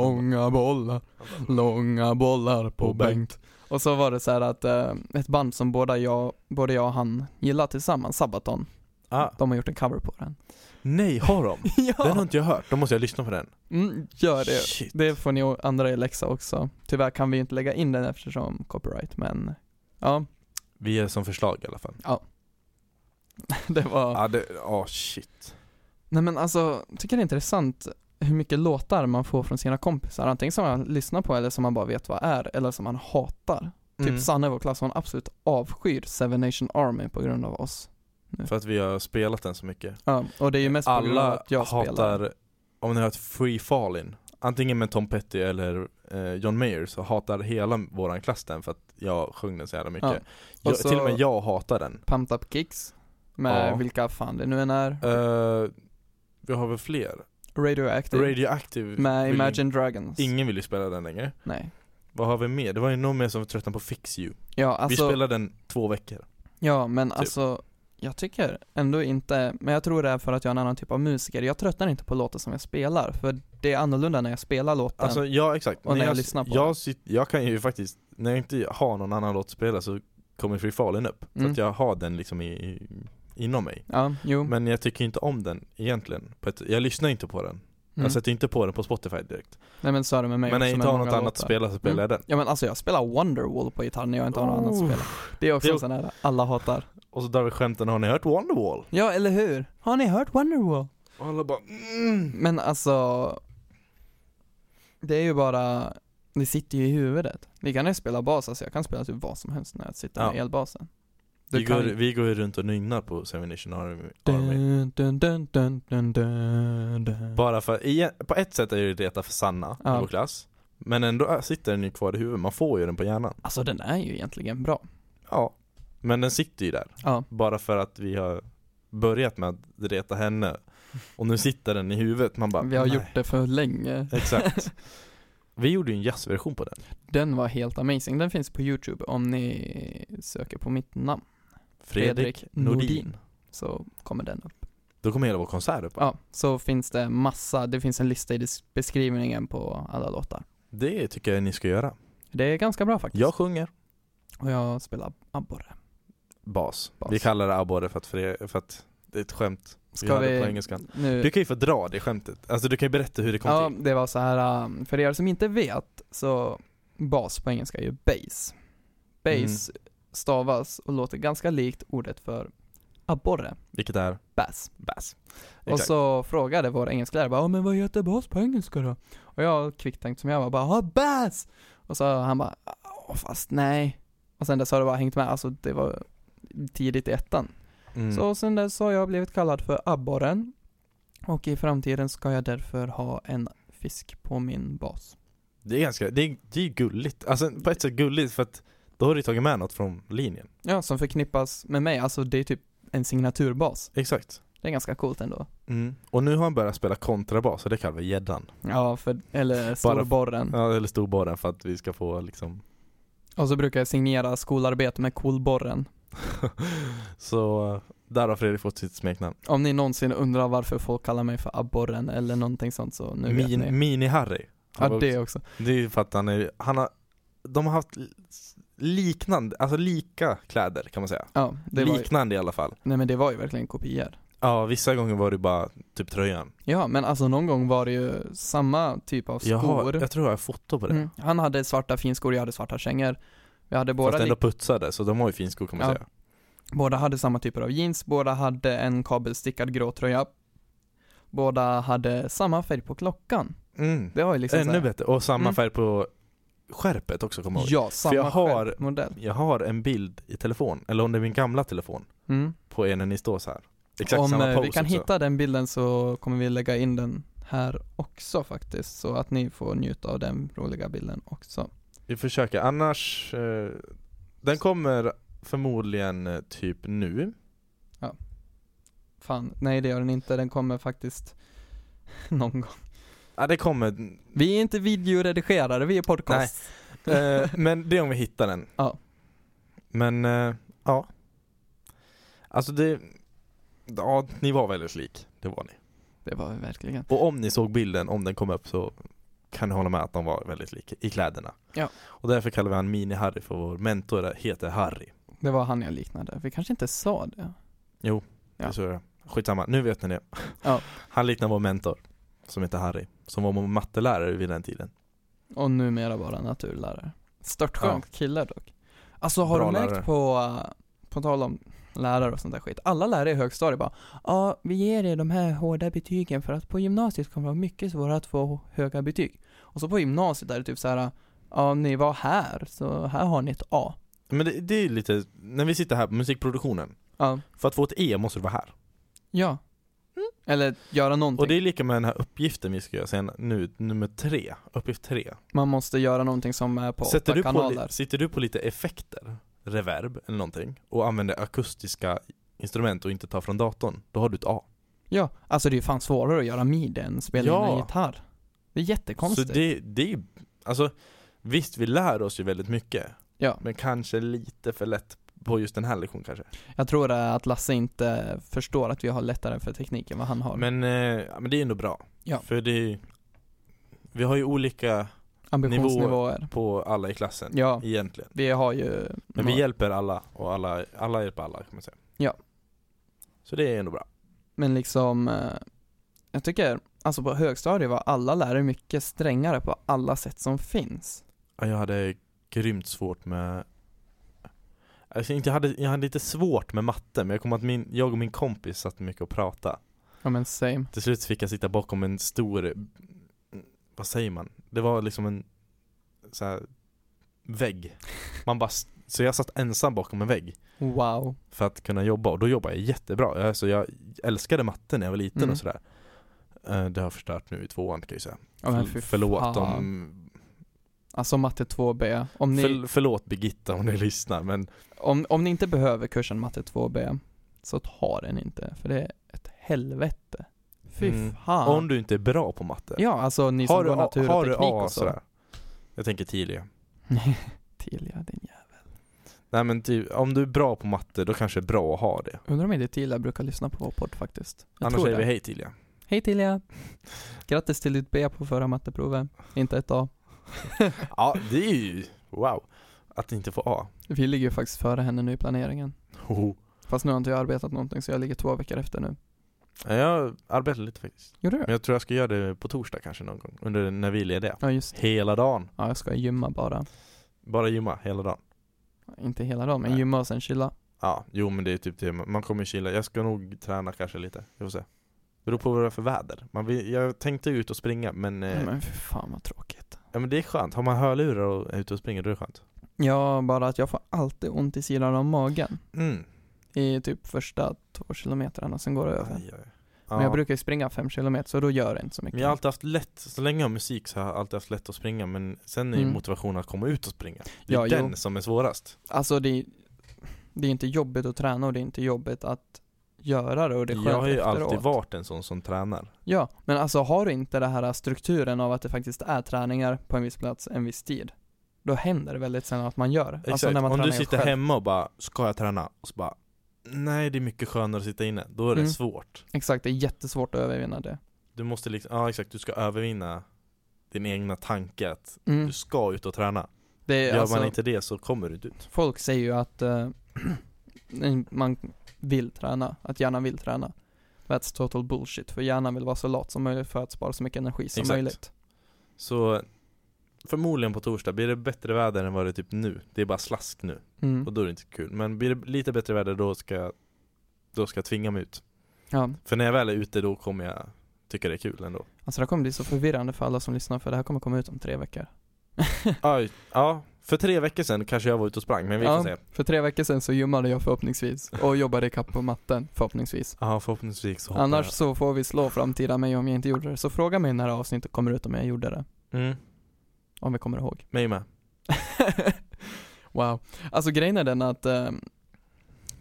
[SPEAKER 1] bollar, långa bollar
[SPEAKER 2] På Bengt.
[SPEAKER 1] Och så var det så här att eh, ett band som båda jag, både jag och han gillar tillsammans, Sabaton,
[SPEAKER 2] Ah,
[SPEAKER 1] de har gjort en cover på den.
[SPEAKER 2] nej, har de? Den har
[SPEAKER 1] ja!
[SPEAKER 2] inte jag hört, då måste jag lyssna på den.
[SPEAKER 1] Mm, gör det.
[SPEAKER 2] Shit.
[SPEAKER 1] Det får ni andra i läxa också. Tyvärr kan vi ju inte lägga in den eftersom copyright, men ja,
[SPEAKER 2] Vi är som förslag i alla fall.
[SPEAKER 1] det var...
[SPEAKER 2] Ja, ah, det, ah, shit.
[SPEAKER 1] Nej men alltså, jag tycker det är intressant hur mycket låtar man får från sina kompisar. Antingen som man lyssnar på eller som man bara vet vad är, eller som man hatar.
[SPEAKER 2] Mm.
[SPEAKER 1] Typ Sanna i vår klass, hon absolut avskyr Seven Nation Army på grund av oss.
[SPEAKER 2] För att vi har spelat den så mycket.
[SPEAKER 1] Ja, och det är ju mest på grund av
[SPEAKER 2] Alla
[SPEAKER 1] att jag spelar.
[SPEAKER 2] hatar, om ni har ett Free Fallin, antingen med Tom Petty eller eh, John Mayer, så hatar hela våran klass den för att jag sjöng den så jävla mycket.
[SPEAKER 1] Ja. Och
[SPEAKER 2] Jag,
[SPEAKER 1] så-
[SPEAKER 2] Till och med jag hatar den.
[SPEAKER 1] Pumped Up Kicks, med
[SPEAKER 2] Ja.
[SPEAKER 1] vilka fan det nu än är.
[SPEAKER 2] Eh, vi har väl fler?
[SPEAKER 1] Radioactive,
[SPEAKER 2] Radioactive
[SPEAKER 1] med
[SPEAKER 2] vill
[SPEAKER 1] Imagine Dragons.
[SPEAKER 2] ju, Ingen vill ju spela den längre
[SPEAKER 1] Nej.
[SPEAKER 2] Vad har vi mer? Det var ju någon mer som var tröttnade på Fix You
[SPEAKER 1] Ja,
[SPEAKER 2] Vi
[SPEAKER 1] alltså,
[SPEAKER 2] spelade den två veckor
[SPEAKER 1] Ja, men alltså jag tycker ändå inte, men jag tror det är för att jag är en annan typ av musiker. Jag tröttnar inte på låtar som jag spelar, för det är annorlunda när jag spelar låten.
[SPEAKER 2] Alltså ja exakt
[SPEAKER 1] Och när jag lyssnar på den.
[SPEAKER 2] jag, sit, jag kan ju faktiskt, när jag inte har någon annan låt att spela så kommer Free Fallen upp
[SPEAKER 1] Mm. Mm.
[SPEAKER 2] Så att jag har den liksom i, i, inom mig
[SPEAKER 1] ja, jo.
[SPEAKER 2] Men jag tycker inte om den egentligen på ett, Jag lyssnar inte på den
[SPEAKER 1] mm.
[SPEAKER 2] Jag sätter inte på den på Spotify direkt
[SPEAKER 1] Nej men så är det med mig
[SPEAKER 2] alltså, Men när jag
[SPEAKER 1] också
[SPEAKER 2] inte
[SPEAKER 1] med
[SPEAKER 2] har något
[SPEAKER 1] många
[SPEAKER 2] annat att
[SPEAKER 1] låtar.
[SPEAKER 2] spela så spelar jag den
[SPEAKER 1] Ja men alltså jag spelar Wonderwall på gitarr när jag inte har något annat att
[SPEAKER 2] Oh.
[SPEAKER 1] spela. Det är också
[SPEAKER 2] Det-
[SPEAKER 1] en sån här, alla hatar.
[SPEAKER 2] Och så drar vi skämten, har ni hört Wonderwall?
[SPEAKER 1] Ja, eller hur? Har ni hört Wonderwall?
[SPEAKER 2] Och alla bara mm.
[SPEAKER 1] Men alltså, det är ju bara, det sitter ju i huvudet. Lika när jag spelar bas, alltså jag kan spela typ vad som helst när jag sitter med
[SPEAKER 2] Ja.
[SPEAKER 1] elbasen. Du
[SPEAKER 2] Vi
[SPEAKER 1] kan-
[SPEAKER 2] går, vi går ju runt och nynnar på Seven Nation Army. Army.
[SPEAKER 1] Dun, dun, dun, dun, dun, dun, dun.
[SPEAKER 2] Bara för, igen- på ett sätt är det ju reta för Sanna
[SPEAKER 1] Ja.
[SPEAKER 2] i vår klass. Men ändå äh, sitter den ju kvar i huvudet, man får ju den på hjärnan.
[SPEAKER 1] Alltså den är ju egentligen bra.
[SPEAKER 2] Ja. Men den sitter ju där.
[SPEAKER 1] Ja.
[SPEAKER 2] Bara för att vi har börjat med att reta henne. Och nu sitter den i huvudet, man bara
[SPEAKER 1] Vi har
[SPEAKER 2] "Nej."
[SPEAKER 1] gjort det för länge.
[SPEAKER 2] Exakt. Vi gjorde ju en jazzversion på den.
[SPEAKER 1] Den var helt amazing. Den finns på YouTube om ni söker på mitt namn.
[SPEAKER 2] Fredrik,
[SPEAKER 1] Fredrik
[SPEAKER 2] Nordin.
[SPEAKER 1] Nordin. Så kommer den upp.
[SPEAKER 2] Då kommer hela vår konsert upp.
[SPEAKER 1] Ja, så finns det massa, det finns en lista i dis- beskrivningen på alla låtar.
[SPEAKER 2] Det tycker jag ni ska göra.
[SPEAKER 1] Det är ganska bra faktiskt.
[SPEAKER 2] Jag sjunger
[SPEAKER 1] Och jag spelar abborre.
[SPEAKER 2] bas.
[SPEAKER 1] Bas.
[SPEAKER 2] Vi kallar det abborre för att, fre- för att det är ett skämt. Vi
[SPEAKER 1] Ska
[SPEAKER 2] hade
[SPEAKER 1] vi
[SPEAKER 2] på engelskan.
[SPEAKER 1] nu...
[SPEAKER 2] Du kan ju få dra det skämtet. Alltså du kan ju berätta hur det kom
[SPEAKER 1] Ja,
[SPEAKER 2] till.
[SPEAKER 1] det var så här, um, för er som inte vet, så bas på engelska är ju base. Base
[SPEAKER 2] Mm.
[SPEAKER 1] stavas och låter ganska likt ordet för abborre,
[SPEAKER 2] Vilket är
[SPEAKER 1] bass.
[SPEAKER 2] bass.
[SPEAKER 1] Och
[SPEAKER 2] Exakt.
[SPEAKER 1] så frågade vår engelsklärare bara, "Ja, men vad heter bas på engelska då? Och jag kvickt tänkt som jag var bara, "Ja, bass! Och så han bara, "Ja, fast nej. Och sen dess har det bara hängt med, alltså det var tidigt i ettan.
[SPEAKER 2] Mm.
[SPEAKER 1] Så sen dess har jag blivit kallad för abborren. Och i framtiden ska jag därför ha en fisk på min bas.
[SPEAKER 2] Det är ganska, det är, det är gulligt. Alltså på ett sätt gulligt för att då har du tagit med något från linjen.
[SPEAKER 1] Ja, som förknippas med mig. Alltså det är typ en signaturbas.
[SPEAKER 2] Exakt.
[SPEAKER 1] Det är ganska coolt ändå.
[SPEAKER 2] Mm. Och nu har han börjat spela kontrabas och det kallar vi gäddan.
[SPEAKER 1] Ja, för, eller storborren.
[SPEAKER 2] Ja, eller storborren för att vi ska få liksom
[SPEAKER 1] Och så brukar jag signera skolarbete med kolborren.
[SPEAKER 2] Så där har Fredrik fått sitt smeknamn.
[SPEAKER 1] Om ni någonsin undrar varför folk kallar mig för abborren eller någonting sånt så nu vet ni.
[SPEAKER 2] Min, Mini-Harry. Han
[SPEAKER 1] Ja,
[SPEAKER 2] var
[SPEAKER 1] det
[SPEAKER 2] också-
[SPEAKER 1] också.
[SPEAKER 2] det är för att han är, han har, de har haft liknande, alltså lika kläder kan man säga.
[SPEAKER 1] Ja, det var ju,
[SPEAKER 2] liknande i alla fall.
[SPEAKER 1] nej men det var ju verkligen kopior.
[SPEAKER 2] Ja, vissa gånger var det bara typ tröjan.
[SPEAKER 1] Ja, men alltså någon gång var det ju samma typ av skor.
[SPEAKER 2] Jag, har, jag tror jag har foto på det.
[SPEAKER 1] Mm. Han hade svarta finskor, jag hade svarta kängor. Vi hade båda,
[SPEAKER 2] Fast ändå
[SPEAKER 1] li-
[SPEAKER 2] putsade, så de har ju finskor kan man
[SPEAKER 1] Ja.
[SPEAKER 2] säga.
[SPEAKER 1] båda hade samma typer av jeans, båda hade en kabelstickad grå tröja. Båda hade samma färg på klockan.
[SPEAKER 2] Mm.
[SPEAKER 1] Det var ju liksom
[SPEAKER 2] Ännu bättre. Och samma
[SPEAKER 1] Mm.
[SPEAKER 2] färg på skärpet också kommer jag ihåg.
[SPEAKER 1] Ja, samma
[SPEAKER 2] jag har-
[SPEAKER 1] modell.
[SPEAKER 2] Jag har en bild i telefon, eller om det är min gamla telefon,
[SPEAKER 1] Mm.
[SPEAKER 2] på er när ni står så här. Exakt
[SPEAKER 1] Om
[SPEAKER 2] samma
[SPEAKER 1] eh,
[SPEAKER 2] pose
[SPEAKER 1] vi kan
[SPEAKER 2] också.
[SPEAKER 1] hitta den bilden så kommer vi lägga in den här också faktiskt, så att ni får njuta av den roliga bilden också.
[SPEAKER 2] Vi försöker, annars eh, Den kommer förmodligen eh, typ nu
[SPEAKER 1] Fan, nej det gör den inte, den kommer faktiskt någon gång.
[SPEAKER 2] Ja det kommer,
[SPEAKER 1] Vi är inte videoredigerare, vi är podcast.
[SPEAKER 2] eh, men det är om vi hittar den
[SPEAKER 1] Ja.
[SPEAKER 2] Men, eh, ja Alltså det Ja, ni var väldigt lik, det var ni
[SPEAKER 1] Det var vi verkligen.
[SPEAKER 2] Och om ni såg bilden, om den kom upp så kan ni hålla med att de var väldigt lika i kläderna
[SPEAKER 1] Ja.
[SPEAKER 2] Och därför kallar vi han Mini-Harry för vår mentor där heter Harry
[SPEAKER 1] Det var han jag liknade. Vi kanske inte sa det. Ja.
[SPEAKER 2] ja. så är det. Skitsamma, nu vet ni det
[SPEAKER 1] Ja.
[SPEAKER 2] Han liknar vår mentor Som heter Harry, som var vår mattelärare vid den tiden
[SPEAKER 1] Och numera bara naturlärare. Störtskön
[SPEAKER 2] Ja.
[SPEAKER 1] kille dock. Alltså har
[SPEAKER 2] Bra
[SPEAKER 1] du märkt
[SPEAKER 2] lärare.
[SPEAKER 1] på, eh, på tal om lärare och sånt där skit. Alla lärare i högstadiet bara, ja vi ger er de här hårda betygen för att på gymnasiet kommer det vara mycket svårare att få höga betyg. Och så på gymnasiet är det typ så här, ja ni var här, så här har ni ett A.
[SPEAKER 2] Men det, det är ju lite, när vi sitter här på musikproduktionen
[SPEAKER 1] Ja.
[SPEAKER 2] För att få ett E måste du vara här
[SPEAKER 1] ja. Eller göra någonting.
[SPEAKER 2] Mm. Och det är lika med den här uppgiften vi ska göra sen nu, nummer tre, uppgift tre
[SPEAKER 1] Man måste göra någonting som är på
[SPEAKER 2] Sätter
[SPEAKER 1] åtta
[SPEAKER 2] du på,
[SPEAKER 1] kanaler.
[SPEAKER 2] li- Sitter du på lite effekter, reverb eller någonting och använder akustiska instrument och inte tar från datorn, då har du ett A
[SPEAKER 1] Ja, alltså det är ju fan svårare att göra midi än spela in
[SPEAKER 2] Ja.
[SPEAKER 1] en gitarr. Det är jättekonstigt.
[SPEAKER 2] Så det, det är ju- alltså Visst, vi lär oss ju väldigt mycket
[SPEAKER 1] Ja.
[SPEAKER 2] Men kanske lite för lätt på just den här lektionen kanske
[SPEAKER 1] Jag tror det är att Lasse inte förstår att vi har lättare för teknik än vad han har.
[SPEAKER 2] Men, eh, ja, men det är ändå bra
[SPEAKER 1] Ja.
[SPEAKER 2] För det är ju- Vi har ju olika
[SPEAKER 1] Ambitionsnivåer.
[SPEAKER 2] på alla i klassen
[SPEAKER 1] Ja,
[SPEAKER 2] Egentligen.
[SPEAKER 1] vi har ju...
[SPEAKER 2] Men vi hjälper alla och alla, alla hjälper alla kan man säga.
[SPEAKER 1] Ja.
[SPEAKER 2] Så det är ändå bra.
[SPEAKER 1] Men liksom, eh, jag tycker, alltså på högstadiet var alla lärare mycket strängare på alla sätt som finns.
[SPEAKER 2] Ja, Jag hade grymt svårt med Alltså inte, jag, hade, jag hade lite svårt med matte, men jag kommer att min, jag och min kompis satt mycket och pratade.
[SPEAKER 1] Ja men same.
[SPEAKER 2] Till slut fick jag sitta bakom en stor, vad säger man? Det var liksom en så här, vägg. Man bara s- Så jag satt ensam bakom en vägg
[SPEAKER 1] Wow.
[SPEAKER 2] för att kunna jobba och då jobbade jag jättebra. Alltså jag älskade matte när jag var liten
[SPEAKER 1] Mm.
[SPEAKER 2] och sådär. Eh, Det har jag förstört nu i tvåan kan jag ju säga.
[SPEAKER 1] Ja, men fy
[SPEAKER 2] förlåt
[SPEAKER 1] fan.
[SPEAKER 2] om,
[SPEAKER 1] Alltså matte 2B. Om ni,
[SPEAKER 2] förl- förlåt Birgitta om ni lyssnar men
[SPEAKER 1] om, om ni inte behöver kursen matte 2B så ta den inte, för det är ett helvete. Fy
[SPEAKER 2] Mm.
[SPEAKER 1] fan.
[SPEAKER 2] om du inte är bra på matte.
[SPEAKER 1] Ja, alltså ni som
[SPEAKER 2] har du,
[SPEAKER 1] går
[SPEAKER 2] A-
[SPEAKER 1] natur och
[SPEAKER 2] har du
[SPEAKER 1] teknik
[SPEAKER 2] A
[SPEAKER 1] och så.
[SPEAKER 2] sådär? Jag tänker tidigare.
[SPEAKER 1] Tilja, din jävel.
[SPEAKER 2] Nej men typ, om du är bra på matte då kanske det är bra att ha det.
[SPEAKER 1] Undrar om inte Tilja brukar lyssna på vår podd faktiskt. Jag
[SPEAKER 2] Annars
[SPEAKER 1] tror
[SPEAKER 2] säger
[SPEAKER 1] det.
[SPEAKER 2] vi hej Tilja.
[SPEAKER 1] Hej Tilja! Grattis till ditt B på förra matteprovet. Inte ett A.
[SPEAKER 2] Ja det är ju, wow. Att inte få A.
[SPEAKER 1] Vi ligger ju faktiskt före henne nu i planeringen.
[SPEAKER 2] Hoho.
[SPEAKER 1] Fast nu har inte jag arbetat någonting så jag ligger två veckor efter nu.
[SPEAKER 2] Ja, Jag arbetar lite faktiskt.
[SPEAKER 1] Gjorde du
[SPEAKER 2] Men
[SPEAKER 1] det?
[SPEAKER 2] jag tror jag ska göra det på torsdag kanske någon gång. Under när vi är lediga.
[SPEAKER 1] Ja just det.
[SPEAKER 2] Hela dagen.
[SPEAKER 1] Ja jag ska gymma bara.
[SPEAKER 2] Bara gymma hela dagen.
[SPEAKER 1] Inte hela dagen men
[SPEAKER 2] Nej.
[SPEAKER 1] gymma och sen chilla.
[SPEAKER 2] Ja, jo men det är typ det. Man kommer chilla. Jag ska nog träna kanske lite. Jag får se. Beror på vad det är för väder. Man vill, jag tänkte ut och springa men, eh,
[SPEAKER 1] Men för fan vad tråkigt.
[SPEAKER 2] ja, men det är skönt. Har man hörlurar och är ute och springer då är det skönt.
[SPEAKER 1] Ja, bara att jag får alltid ont i sidan av magen.
[SPEAKER 2] Mm.
[SPEAKER 1] I typ första två kilometrarna, sen går det över.
[SPEAKER 2] Aj, aj. Ja.
[SPEAKER 1] Men jag brukar ju springa fem kilometer så då gör det inte så mycket.
[SPEAKER 2] Men jag har alltid haft lätt, så länge jag har musik så har jag alltid haft lätt att springa men sen är ju
[SPEAKER 1] Mm.
[SPEAKER 2] motivationen att komma ut och springa. Det är
[SPEAKER 1] Ja,
[SPEAKER 2] den
[SPEAKER 1] jo.
[SPEAKER 2] som är svårast.
[SPEAKER 1] Alltså det är, det är inte jobbigt att träna och det är inte jobbigt att göra det och det är skönt
[SPEAKER 2] Jag har ju
[SPEAKER 1] efteråt.
[SPEAKER 2] alltid varit en sån som tränar.
[SPEAKER 1] Ja, men alltså har du inte den här strukturen av att det faktiskt är träningar på en viss plats en viss tid, då händer det väldigt sällan att man gör.
[SPEAKER 2] Exakt.
[SPEAKER 1] Alltså när man
[SPEAKER 2] Om du
[SPEAKER 1] tränar
[SPEAKER 2] sitter
[SPEAKER 1] själv.
[SPEAKER 2] hemma och bara, ska jag träna? Och så bara, nej det är mycket skönare att sitta inne. Då är det
[SPEAKER 1] Mm.
[SPEAKER 2] svårt.
[SPEAKER 1] Exakt, det är jättesvårt att övervinna det.
[SPEAKER 2] Du måste liksom, ja exakt, du ska övervinna din egna tanke att
[SPEAKER 1] Mm.
[SPEAKER 2] du ska ut och träna.
[SPEAKER 1] Det är
[SPEAKER 2] Gör
[SPEAKER 1] alltså,
[SPEAKER 2] man inte det så kommer du inte ut.
[SPEAKER 1] folk säger ju att eh, man vill träna, att hjärnan vill träna. That's total bullshit, för hjärnan vill vara så lat som möjligt för att spara så mycket energi som
[SPEAKER 2] Exakt.
[SPEAKER 1] möjligt.
[SPEAKER 2] Så förmodligen på torsdag blir det bättre väder än vad det är typ nu. Det är bara slask nu.
[SPEAKER 1] Mm.
[SPEAKER 2] Och då är det inte kul. Men blir det lite bättre väder då ska jag, då ska jag tvinga mig ut.
[SPEAKER 1] Ja.
[SPEAKER 2] För när jag väl är ute då kommer jag tycka det är kul ändå.
[SPEAKER 1] Alltså det här kommer bli så förvirrande för alla som lyssnar för det här kommer komma ut om tre veckor.
[SPEAKER 2] Aj, ja, för tre veckor sedan kanske jag var ute och sprang men vi får
[SPEAKER 1] Ja.
[SPEAKER 2] se.
[SPEAKER 1] För tre veckor sedan så gymmade jag förhoppningsvis och jobbade ikapp på matten förhoppningsvis.
[SPEAKER 2] Ja förhoppningsvis så hoppar
[SPEAKER 1] Annars så får vi slå framtida mig om jag inte gjorde det. Så fråga mig när det här avsnittet kommer ut om jag gjorde det.
[SPEAKER 2] jag. Mm,
[SPEAKER 1] Om vi kommer ihåg.
[SPEAKER 2] mig med.
[SPEAKER 1] wow. Alltså grejen är den att eh,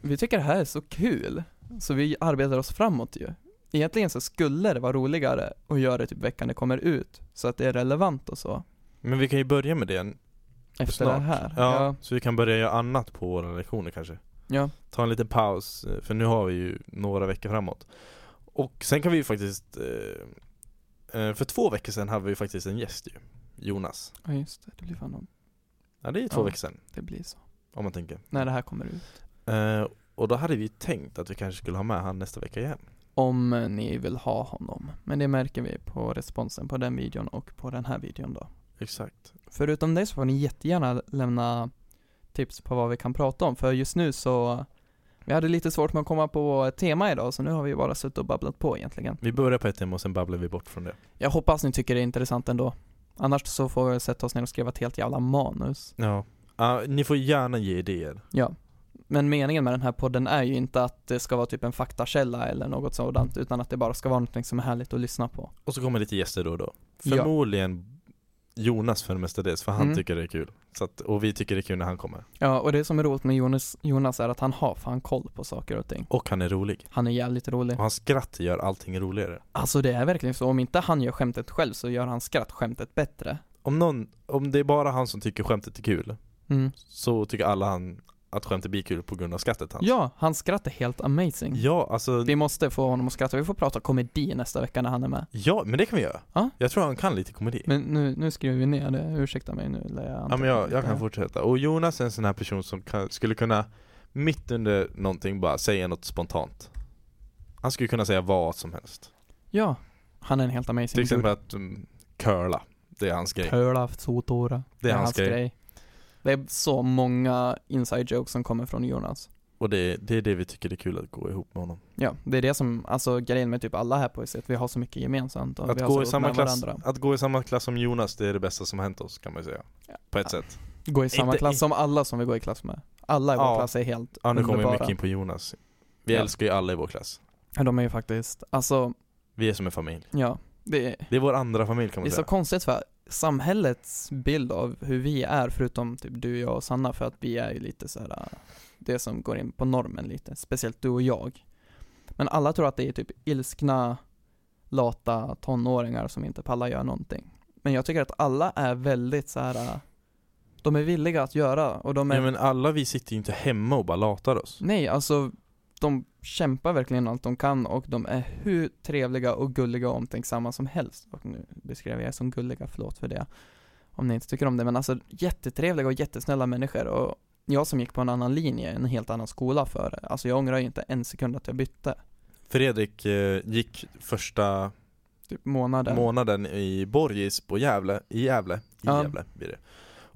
[SPEAKER 1] vi tycker det här är så kul. Så vi arbetar oss framåt ju. Egentligen så skulle det vara roligare att göra det typ veckan det kommer ut. Så att det är relevant och så.
[SPEAKER 2] Men vi kan ju börja med det.
[SPEAKER 1] Efter
[SPEAKER 2] Snart.
[SPEAKER 1] det här.
[SPEAKER 2] Ja,
[SPEAKER 1] ja.
[SPEAKER 2] Så vi kan börja göra annat på våra lektioner kanske.
[SPEAKER 1] ja.
[SPEAKER 2] Ta en liten paus, eh, för nu har vi ju några veckor framåt. Och sen kan vi ju faktiskt, eh, eh, för två veckor sedan hade vi ju faktiskt en gäst ju. Jonas.
[SPEAKER 1] Ja just det, det blir fan om
[SPEAKER 2] Ja det är två
[SPEAKER 1] Ja.
[SPEAKER 2] veckor sedan,
[SPEAKER 1] det blir så.
[SPEAKER 2] om man tänker.
[SPEAKER 1] När det här kommer ut.
[SPEAKER 2] Eh, och då hade vi ju tänkt att vi kanske skulle ha med han nästa vecka igen.
[SPEAKER 1] Om eh, ni vill ha honom. Men det märker vi på responsen på den videon och på den här videon då.
[SPEAKER 2] Exakt.
[SPEAKER 1] Förutom det så får ni jättegärna lämna tips på vad vi kan prata om. För just nu så, vi hade lite svårt med att komma på ett tema idag. Så nu har vi bara suttit och babblat på egentligen.
[SPEAKER 2] Vi börjar på ett tema och sen babblar vi bort från det.
[SPEAKER 1] Jag hoppas ni tycker det är intressant ändå. Annars så får vi sätta oss ner och skriva ett helt jävla manus.
[SPEAKER 2] Ja. Ja, ni får gärna ge idéer.
[SPEAKER 1] Ja. Men meningen med den här podden är ju inte att det ska vara typ en faktakälla eller något sådant. Utan att det bara ska vara någonting som är härligt att lyssna på.
[SPEAKER 2] Och så kommer lite gäster då och då.
[SPEAKER 1] Ja.
[SPEAKER 2] Förmodligen Jonas för det mestadels, för han
[SPEAKER 1] Mm.
[SPEAKER 2] tycker det är kul. Så att, och vi tycker det är kul när han kommer.
[SPEAKER 1] Ja, och det som är roligt med Jonas, Jonas är att han har fan koll på saker och ting.
[SPEAKER 2] Och han är rolig.
[SPEAKER 1] Han är jävligt rolig.
[SPEAKER 2] Och hans skratt gör allting roligare.
[SPEAKER 1] Alltså det är verkligen så, om inte han gör skämtet själv så gör han skrattskämtet bättre.
[SPEAKER 2] Om, någon, om det är bara han som tycker skämtet är kul,
[SPEAKER 1] Mm.
[SPEAKER 2] så tycker alla han att skämtet blir kul på grund av skrattet hans.
[SPEAKER 1] Ja, hans skratt är helt amazing.
[SPEAKER 2] Ja, alltså,
[SPEAKER 1] Vi måste få honom att skratta, vi får prata komedi nästa vecka när han är med.
[SPEAKER 2] ja, men det kan vi göra.
[SPEAKER 1] Ja.
[SPEAKER 2] Jag tror han kan lite komedi.
[SPEAKER 1] Men nu, nu skriver vi ner det, ursäkta mig nu lär jag
[SPEAKER 2] Ja men jag,
[SPEAKER 1] anteckna
[SPEAKER 2] jag kan
[SPEAKER 1] lite.
[SPEAKER 2] fortsätta. Och Jonas är en sån här person som kan, skulle kunna mitt under någonting bara säga något spontant. Han skulle kunna säga vad som helst.
[SPEAKER 1] Ja, han är en helt amazing
[SPEAKER 2] Till exempel att um, curla. Det är hans grej.
[SPEAKER 1] Töla, sotora.
[SPEAKER 2] Det är hans grej.
[SPEAKER 1] Det är så många inside jokes som kommer från Jonas.
[SPEAKER 2] Och det, det är det vi tycker det är kul att gå ihop med honom.
[SPEAKER 1] Ja, det är det som, alltså grejen med typ alla här på IC, att vi har så mycket gemensamt och
[SPEAKER 2] Att
[SPEAKER 1] vi har
[SPEAKER 2] gå,
[SPEAKER 1] så
[SPEAKER 2] i
[SPEAKER 1] roligt
[SPEAKER 2] samma
[SPEAKER 1] med
[SPEAKER 2] klass,
[SPEAKER 1] varandra.
[SPEAKER 2] att gå i samma klass som Jonas, det är det bästa som hänt oss kan man ju säga. På ett sätt.
[SPEAKER 1] Gå i samma
[SPEAKER 2] Inte-
[SPEAKER 1] klass som alla som vi går i klass med. Alla i vår
[SPEAKER 2] Ja.
[SPEAKER 1] klass är helt
[SPEAKER 2] Ja nu kommer vi
[SPEAKER 1] underbara.
[SPEAKER 2] mycket in på Jonas. Vi
[SPEAKER 1] Ja.
[SPEAKER 2] älskar ju alla i vår klass.
[SPEAKER 1] Ja, de är ju faktiskt, alltså,
[SPEAKER 2] Vi är som en familj.
[SPEAKER 1] ja. Det är,
[SPEAKER 2] Det är vår andra familj kan
[SPEAKER 1] det är
[SPEAKER 2] man
[SPEAKER 1] så
[SPEAKER 2] säga.
[SPEAKER 1] konstigt för samhällets bild av hur vi är, förutom typ du, jag och Sanna, för att vi är ju lite så här äh, det som går in på normen lite, speciellt du och jag. Men alla tror att det är typ ilskna, lata tonåringar som inte pallar göra någonting. Men jag tycker att alla är väldigt så här. äh, de är villiga att göra och de är
[SPEAKER 2] Men... Ja, men alla vi sitter ju inte hemma och bara latar oss.
[SPEAKER 1] Nej, alltså de kämpar verkligen allt de kan och de är hur trevliga och gulliga och omtänksamma som helst. Och nu beskrev jag er som gulliga, förlåt för det. Om ni inte tycker om det, men alltså jättetrevliga och jättesnälla människor och jag som gick på en annan linje, en helt annan skola för alltså jag ångrar ju inte en sekund att jag bytte.
[SPEAKER 2] Fredrik eh, gick första
[SPEAKER 1] Typ månader.
[SPEAKER 2] månaden i Borgis på Gävle, i Gävle, i
[SPEAKER 1] Ja.
[SPEAKER 2] Gävle blir det.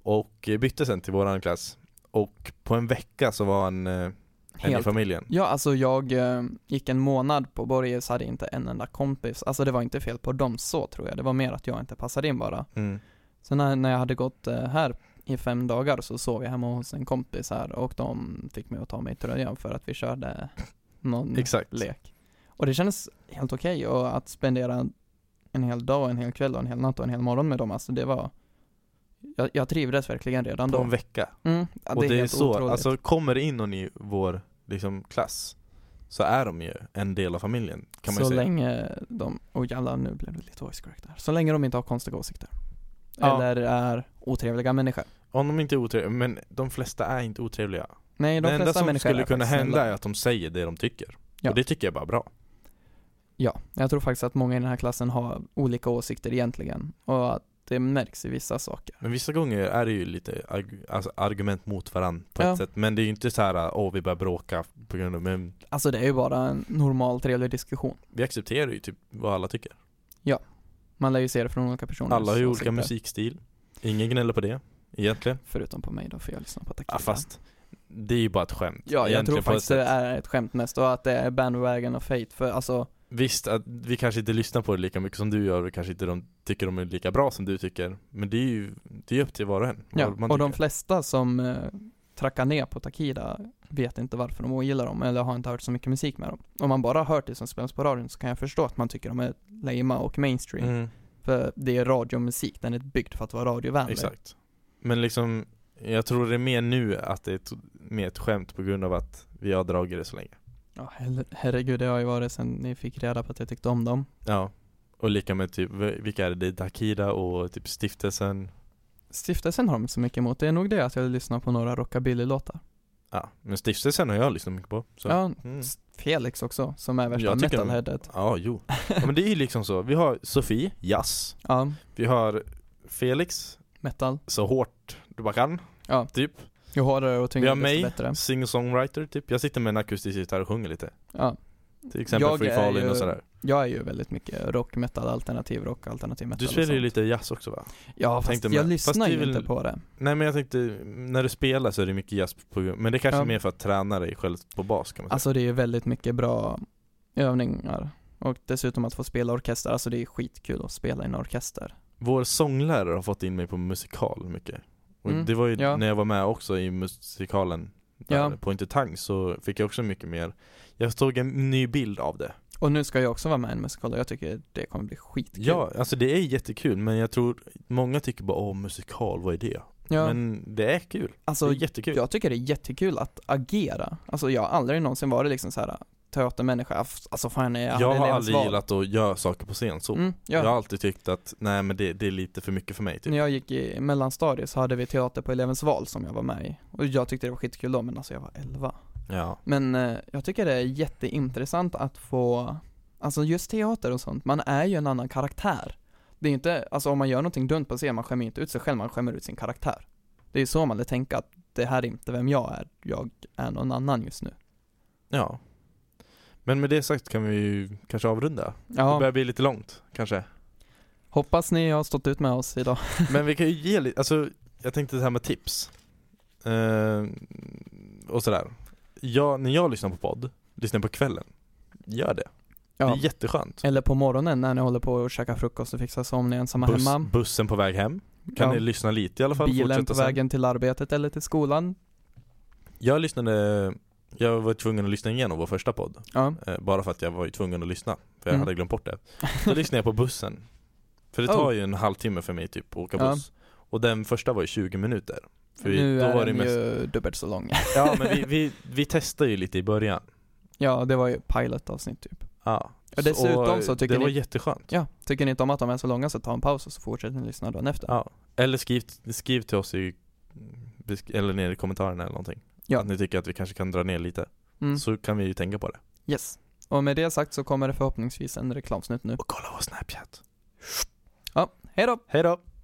[SPEAKER 2] Och eh, bytte sen till våran klass. Och på en vecka så var han eh, en i
[SPEAKER 1] helt.
[SPEAKER 2] familjen.
[SPEAKER 1] Ja, alltså jag eh, gick en månad på Borges, hade inte en enda kompis. Alltså det var inte fel på dem så tror jag, det var mer att jag inte passade in bara.
[SPEAKER 2] Mm.
[SPEAKER 1] Sen när, när jag hade gått eh, här i fem dagar så sov jag hemma hos en kompis här och de fick mig att ta mig i tröjan för att vi körde någon
[SPEAKER 2] Exakt.
[SPEAKER 1] lek. Och det kändes helt okej och att spendera en- en hel dag, en hel kväll och en hel natt och en hel morgon med dem, alltså det var jag, jag trivdes verkligen redan
[SPEAKER 2] På
[SPEAKER 1] då.
[SPEAKER 2] en vecka.
[SPEAKER 1] Mm, ja,
[SPEAKER 2] och det är
[SPEAKER 1] helt
[SPEAKER 2] så,
[SPEAKER 1] otroligt.
[SPEAKER 2] alltså kommer det in någon i vår liksom, klass så är de ju en del av familjen kan man
[SPEAKER 1] så
[SPEAKER 2] ju säga.
[SPEAKER 1] länge de, oh jävlar nu blev det lite voice correct där. Så länge de inte har konstiga åsikter.
[SPEAKER 2] Ja.
[SPEAKER 1] Eller är otrevliga människor.
[SPEAKER 2] Om de inte är otrevliga, men de flesta är inte otrevliga.
[SPEAKER 1] Nej, de
[SPEAKER 2] det enda
[SPEAKER 1] flesta
[SPEAKER 2] som
[SPEAKER 1] människor
[SPEAKER 2] skulle
[SPEAKER 1] är
[SPEAKER 2] kunna
[SPEAKER 1] faktiskt
[SPEAKER 2] hända
[SPEAKER 1] snälla.
[SPEAKER 2] är att de säger det de tycker.
[SPEAKER 1] Ja.
[SPEAKER 2] Och det tycker jag bara är bra.
[SPEAKER 1] Ja, jag tror faktiskt att många i den här klassen har olika åsikter egentligen och att det märks i vissa saker.
[SPEAKER 2] Men vissa gånger är det ju lite arg- alltså, argument mot varandra på ett
[SPEAKER 1] Ja.
[SPEAKER 2] sätt. Men det är ju inte så här, åh vi börjar bråka på grund av, men
[SPEAKER 1] Alltså det är ju bara en normal trevlig diskussion.
[SPEAKER 2] vi accepterar ju typ vad alla tycker.
[SPEAKER 1] Man lär ju se det från olika personer.
[SPEAKER 2] Alla har ju olika musikstil. Ingen gnäller på det, egentligen.
[SPEAKER 1] Förutom på mig då, för jag lyssnar på Takida.
[SPEAKER 2] Ja, fast det är ju bara ett skämt.
[SPEAKER 1] Ja, jag
[SPEAKER 2] Egentligen
[SPEAKER 1] tror
[SPEAKER 2] på ett
[SPEAKER 1] faktiskt
[SPEAKER 2] sätt.
[SPEAKER 1] det är ett skämt mest och att det är bandwagon och fate för alltså,
[SPEAKER 2] Visst, att vi kanske inte lyssnar på det lika mycket som du gör och kanske inte de tycker de är lika bra som du tycker Men det är ju det är upp till var och en vad
[SPEAKER 1] ja,
[SPEAKER 2] man
[SPEAKER 1] och de
[SPEAKER 2] tycker.
[SPEAKER 1] flesta som eh, trackar ner på Takida vet inte varför de ogillar dem eller har inte hört så mycket musik med dem. Om man bara har hört det som spelas på radion så kan jag förstå att man tycker de är lama och mainstream.
[SPEAKER 2] mm,
[SPEAKER 1] För det är radiomusik, den är byggd för att vara radiovänlig.
[SPEAKER 2] Exakt Men liksom, jag tror det är mer nu att det är ett, mer ett skämt på grund av att vi har dragit det så länge
[SPEAKER 1] Ja, her- herregud, det har ju varit sen ni fick reda på att jag tyckte om dem.
[SPEAKER 2] Ja Och lika med typ, v- vilka är det? det? är Dakida och typ stiftelsen
[SPEAKER 1] Stiftelsen har de inte så mycket emot, det är nog det att jag lyssnar på några rockabilly-låtar.
[SPEAKER 2] Ja, men stiftelsen har jag lyssnat mycket på så.
[SPEAKER 1] Ja,
[SPEAKER 2] mm.
[SPEAKER 1] s- Felix också, som är värsta
[SPEAKER 2] Jag tycker de-
[SPEAKER 1] metalheadet.
[SPEAKER 2] ja jo ja, Men det är ju liksom så, vi har Sofie, jazz
[SPEAKER 1] Ja,
[SPEAKER 2] Vi har Felix,
[SPEAKER 1] metal.
[SPEAKER 2] så hårt du bara kan
[SPEAKER 1] Ja.
[SPEAKER 2] Typ
[SPEAKER 1] Ju hårdare och
[SPEAKER 2] Vi
[SPEAKER 1] tyngre
[SPEAKER 2] har
[SPEAKER 1] desto
[SPEAKER 2] mig,
[SPEAKER 1] bättre.
[SPEAKER 2] singer-songwriter typ. Jag sitter med en akustisk gitarr och sjunger lite.
[SPEAKER 1] Ja,
[SPEAKER 2] Till exempel
[SPEAKER 1] Jag
[SPEAKER 2] Free
[SPEAKER 1] är
[SPEAKER 2] Falling
[SPEAKER 1] ju
[SPEAKER 2] och sådär.
[SPEAKER 1] jag är ju väldigt mycket rock, metal, alternativ rock, alternativ metal liksom.
[SPEAKER 2] Du
[SPEAKER 1] och
[SPEAKER 2] spelar ju
[SPEAKER 1] sånt.
[SPEAKER 2] lite jazz också va?
[SPEAKER 1] Ja, fast
[SPEAKER 2] tänkte
[SPEAKER 1] jag
[SPEAKER 2] med. Fast
[SPEAKER 1] lyssnar
[SPEAKER 2] det är
[SPEAKER 1] ju
[SPEAKER 2] väl-
[SPEAKER 1] inte på det.
[SPEAKER 2] Nej men jag tänkte, när du spelar så är det mycket jazz på Men det kanske
[SPEAKER 1] Ja.
[SPEAKER 2] är mer för att träna dig själv på bas kan man säga.
[SPEAKER 1] Alltså det är ju väldigt mycket bra övningar. Och dessutom att få spela orkester, alltså det är skitkul att spela i en orkester.
[SPEAKER 2] Vår sånglärare har fått in mig på musikal mycket. Och
[SPEAKER 1] Mm,
[SPEAKER 2] det var ju
[SPEAKER 1] ja.
[SPEAKER 2] när jag var med också i musikalen där
[SPEAKER 1] Ja.
[SPEAKER 2] på Intertang så fick jag också mycket mer Jag tog en ny bild av det.
[SPEAKER 1] Och nu ska jag också vara med i en musikal och jag tycker det kommer bli skitkul.
[SPEAKER 2] Ja, alltså det är jättekul men jag tror många tycker bara åh musikal, vad är det?
[SPEAKER 1] Ja,
[SPEAKER 2] Men det är kul.
[SPEAKER 1] alltså
[SPEAKER 2] det är jättekul.
[SPEAKER 1] jag tycker det är jättekul att agera. Alltså jag har aldrig någonsin varit liksom så här teatermänniska, F- alltså fan jag hade
[SPEAKER 2] jag har
[SPEAKER 1] elevens
[SPEAKER 2] aldrig
[SPEAKER 1] val.
[SPEAKER 2] gillat att göra saker på scen så.
[SPEAKER 1] mm, ja.
[SPEAKER 2] Jag har alltid tyckt att, nej men det, det är lite för mycket för mig typ.
[SPEAKER 1] När jag gick i mellanstadiet så hade vi teater på elevens val som jag var med i. Och jag tyckte det var skitkul då, men alltså jag var 11.
[SPEAKER 2] Ja.
[SPEAKER 1] Men eh, jag tycker det är jätteintressant att få, alltså just teater och sånt, man är ju en annan karaktär. Det är ju inte, alltså om man gör någonting dumt på scen, man skämmer ju inte ut sig själv, man skämmer ut sin karaktär. Det är ju så man lär tänka att det här är inte vem jag är, jag är någon annan just nu.
[SPEAKER 2] ja. Men med det sagt kan vi ju kanske avrunda. Det
[SPEAKER 1] Ja,
[SPEAKER 2] börjar bli lite långt kanske.
[SPEAKER 1] hoppas ni har stått ut med oss idag.
[SPEAKER 2] Men vi kan ju ge lite, alltså jag tänkte det här med tips. Eh, och sådär. Jag, när jag lyssnar på podd, lyssnar på kvällen. Gör det. Det
[SPEAKER 1] Ja.
[SPEAKER 2] är jätteskönt.
[SPEAKER 1] Eller på morgonen när ni håller på att käka frukost och fixar somnig ensamma
[SPEAKER 2] Buss,
[SPEAKER 1] hemma.
[SPEAKER 2] bussen på väg hem. Kan
[SPEAKER 1] Ja.
[SPEAKER 2] ni lyssna lite i alla fall?
[SPEAKER 1] Bilen
[SPEAKER 2] Fortsätta
[SPEAKER 1] på
[SPEAKER 2] sen.
[SPEAKER 1] vägen till arbetet eller till skolan.
[SPEAKER 2] Jag lyssnade, jag var tvungen att lyssna igenom vår första podd
[SPEAKER 1] Ja.
[SPEAKER 2] eh, Bara för att jag var ju tvungen att lyssna För jag
[SPEAKER 1] Mm.
[SPEAKER 2] hade glömt bort det Så lyssnade jag på bussen För det tar
[SPEAKER 1] Oh.
[SPEAKER 2] ju en halvtimme för mig typ att åka
[SPEAKER 1] Ja.
[SPEAKER 2] buss Och den första var ju 20 minuter För vi-
[SPEAKER 1] nu
[SPEAKER 2] då
[SPEAKER 1] är
[SPEAKER 2] var det
[SPEAKER 1] den
[SPEAKER 2] mest-
[SPEAKER 1] ju dubbelt så lång.
[SPEAKER 2] Ja men vi, vi, vi testade ju lite i början
[SPEAKER 1] ja, det var ju pilotavsnitt typ.
[SPEAKER 2] Ja
[SPEAKER 1] Ja, dessutom så
[SPEAKER 2] och
[SPEAKER 1] tycker
[SPEAKER 2] Det var
[SPEAKER 1] ni-
[SPEAKER 2] jätteskönt
[SPEAKER 1] Ja, tycker ni inte om att de är så långa så ta en paus och så fortsätter ni lyssna dagen efter.
[SPEAKER 2] Ja Eller skriv, skriv till oss i besk- eller nere i kommentarerna eller någonting
[SPEAKER 1] Ja.
[SPEAKER 2] Att ni tycker att vi kanske kan dra ner lite
[SPEAKER 1] Mm.
[SPEAKER 2] Så kan vi ju tänka på det
[SPEAKER 1] Yes. Och med det sagt så kommer det förhoppningsvis en reklamsnutt nu.
[SPEAKER 2] Och kolla vår snapchat
[SPEAKER 1] Hej då!
[SPEAKER 2] Hej då!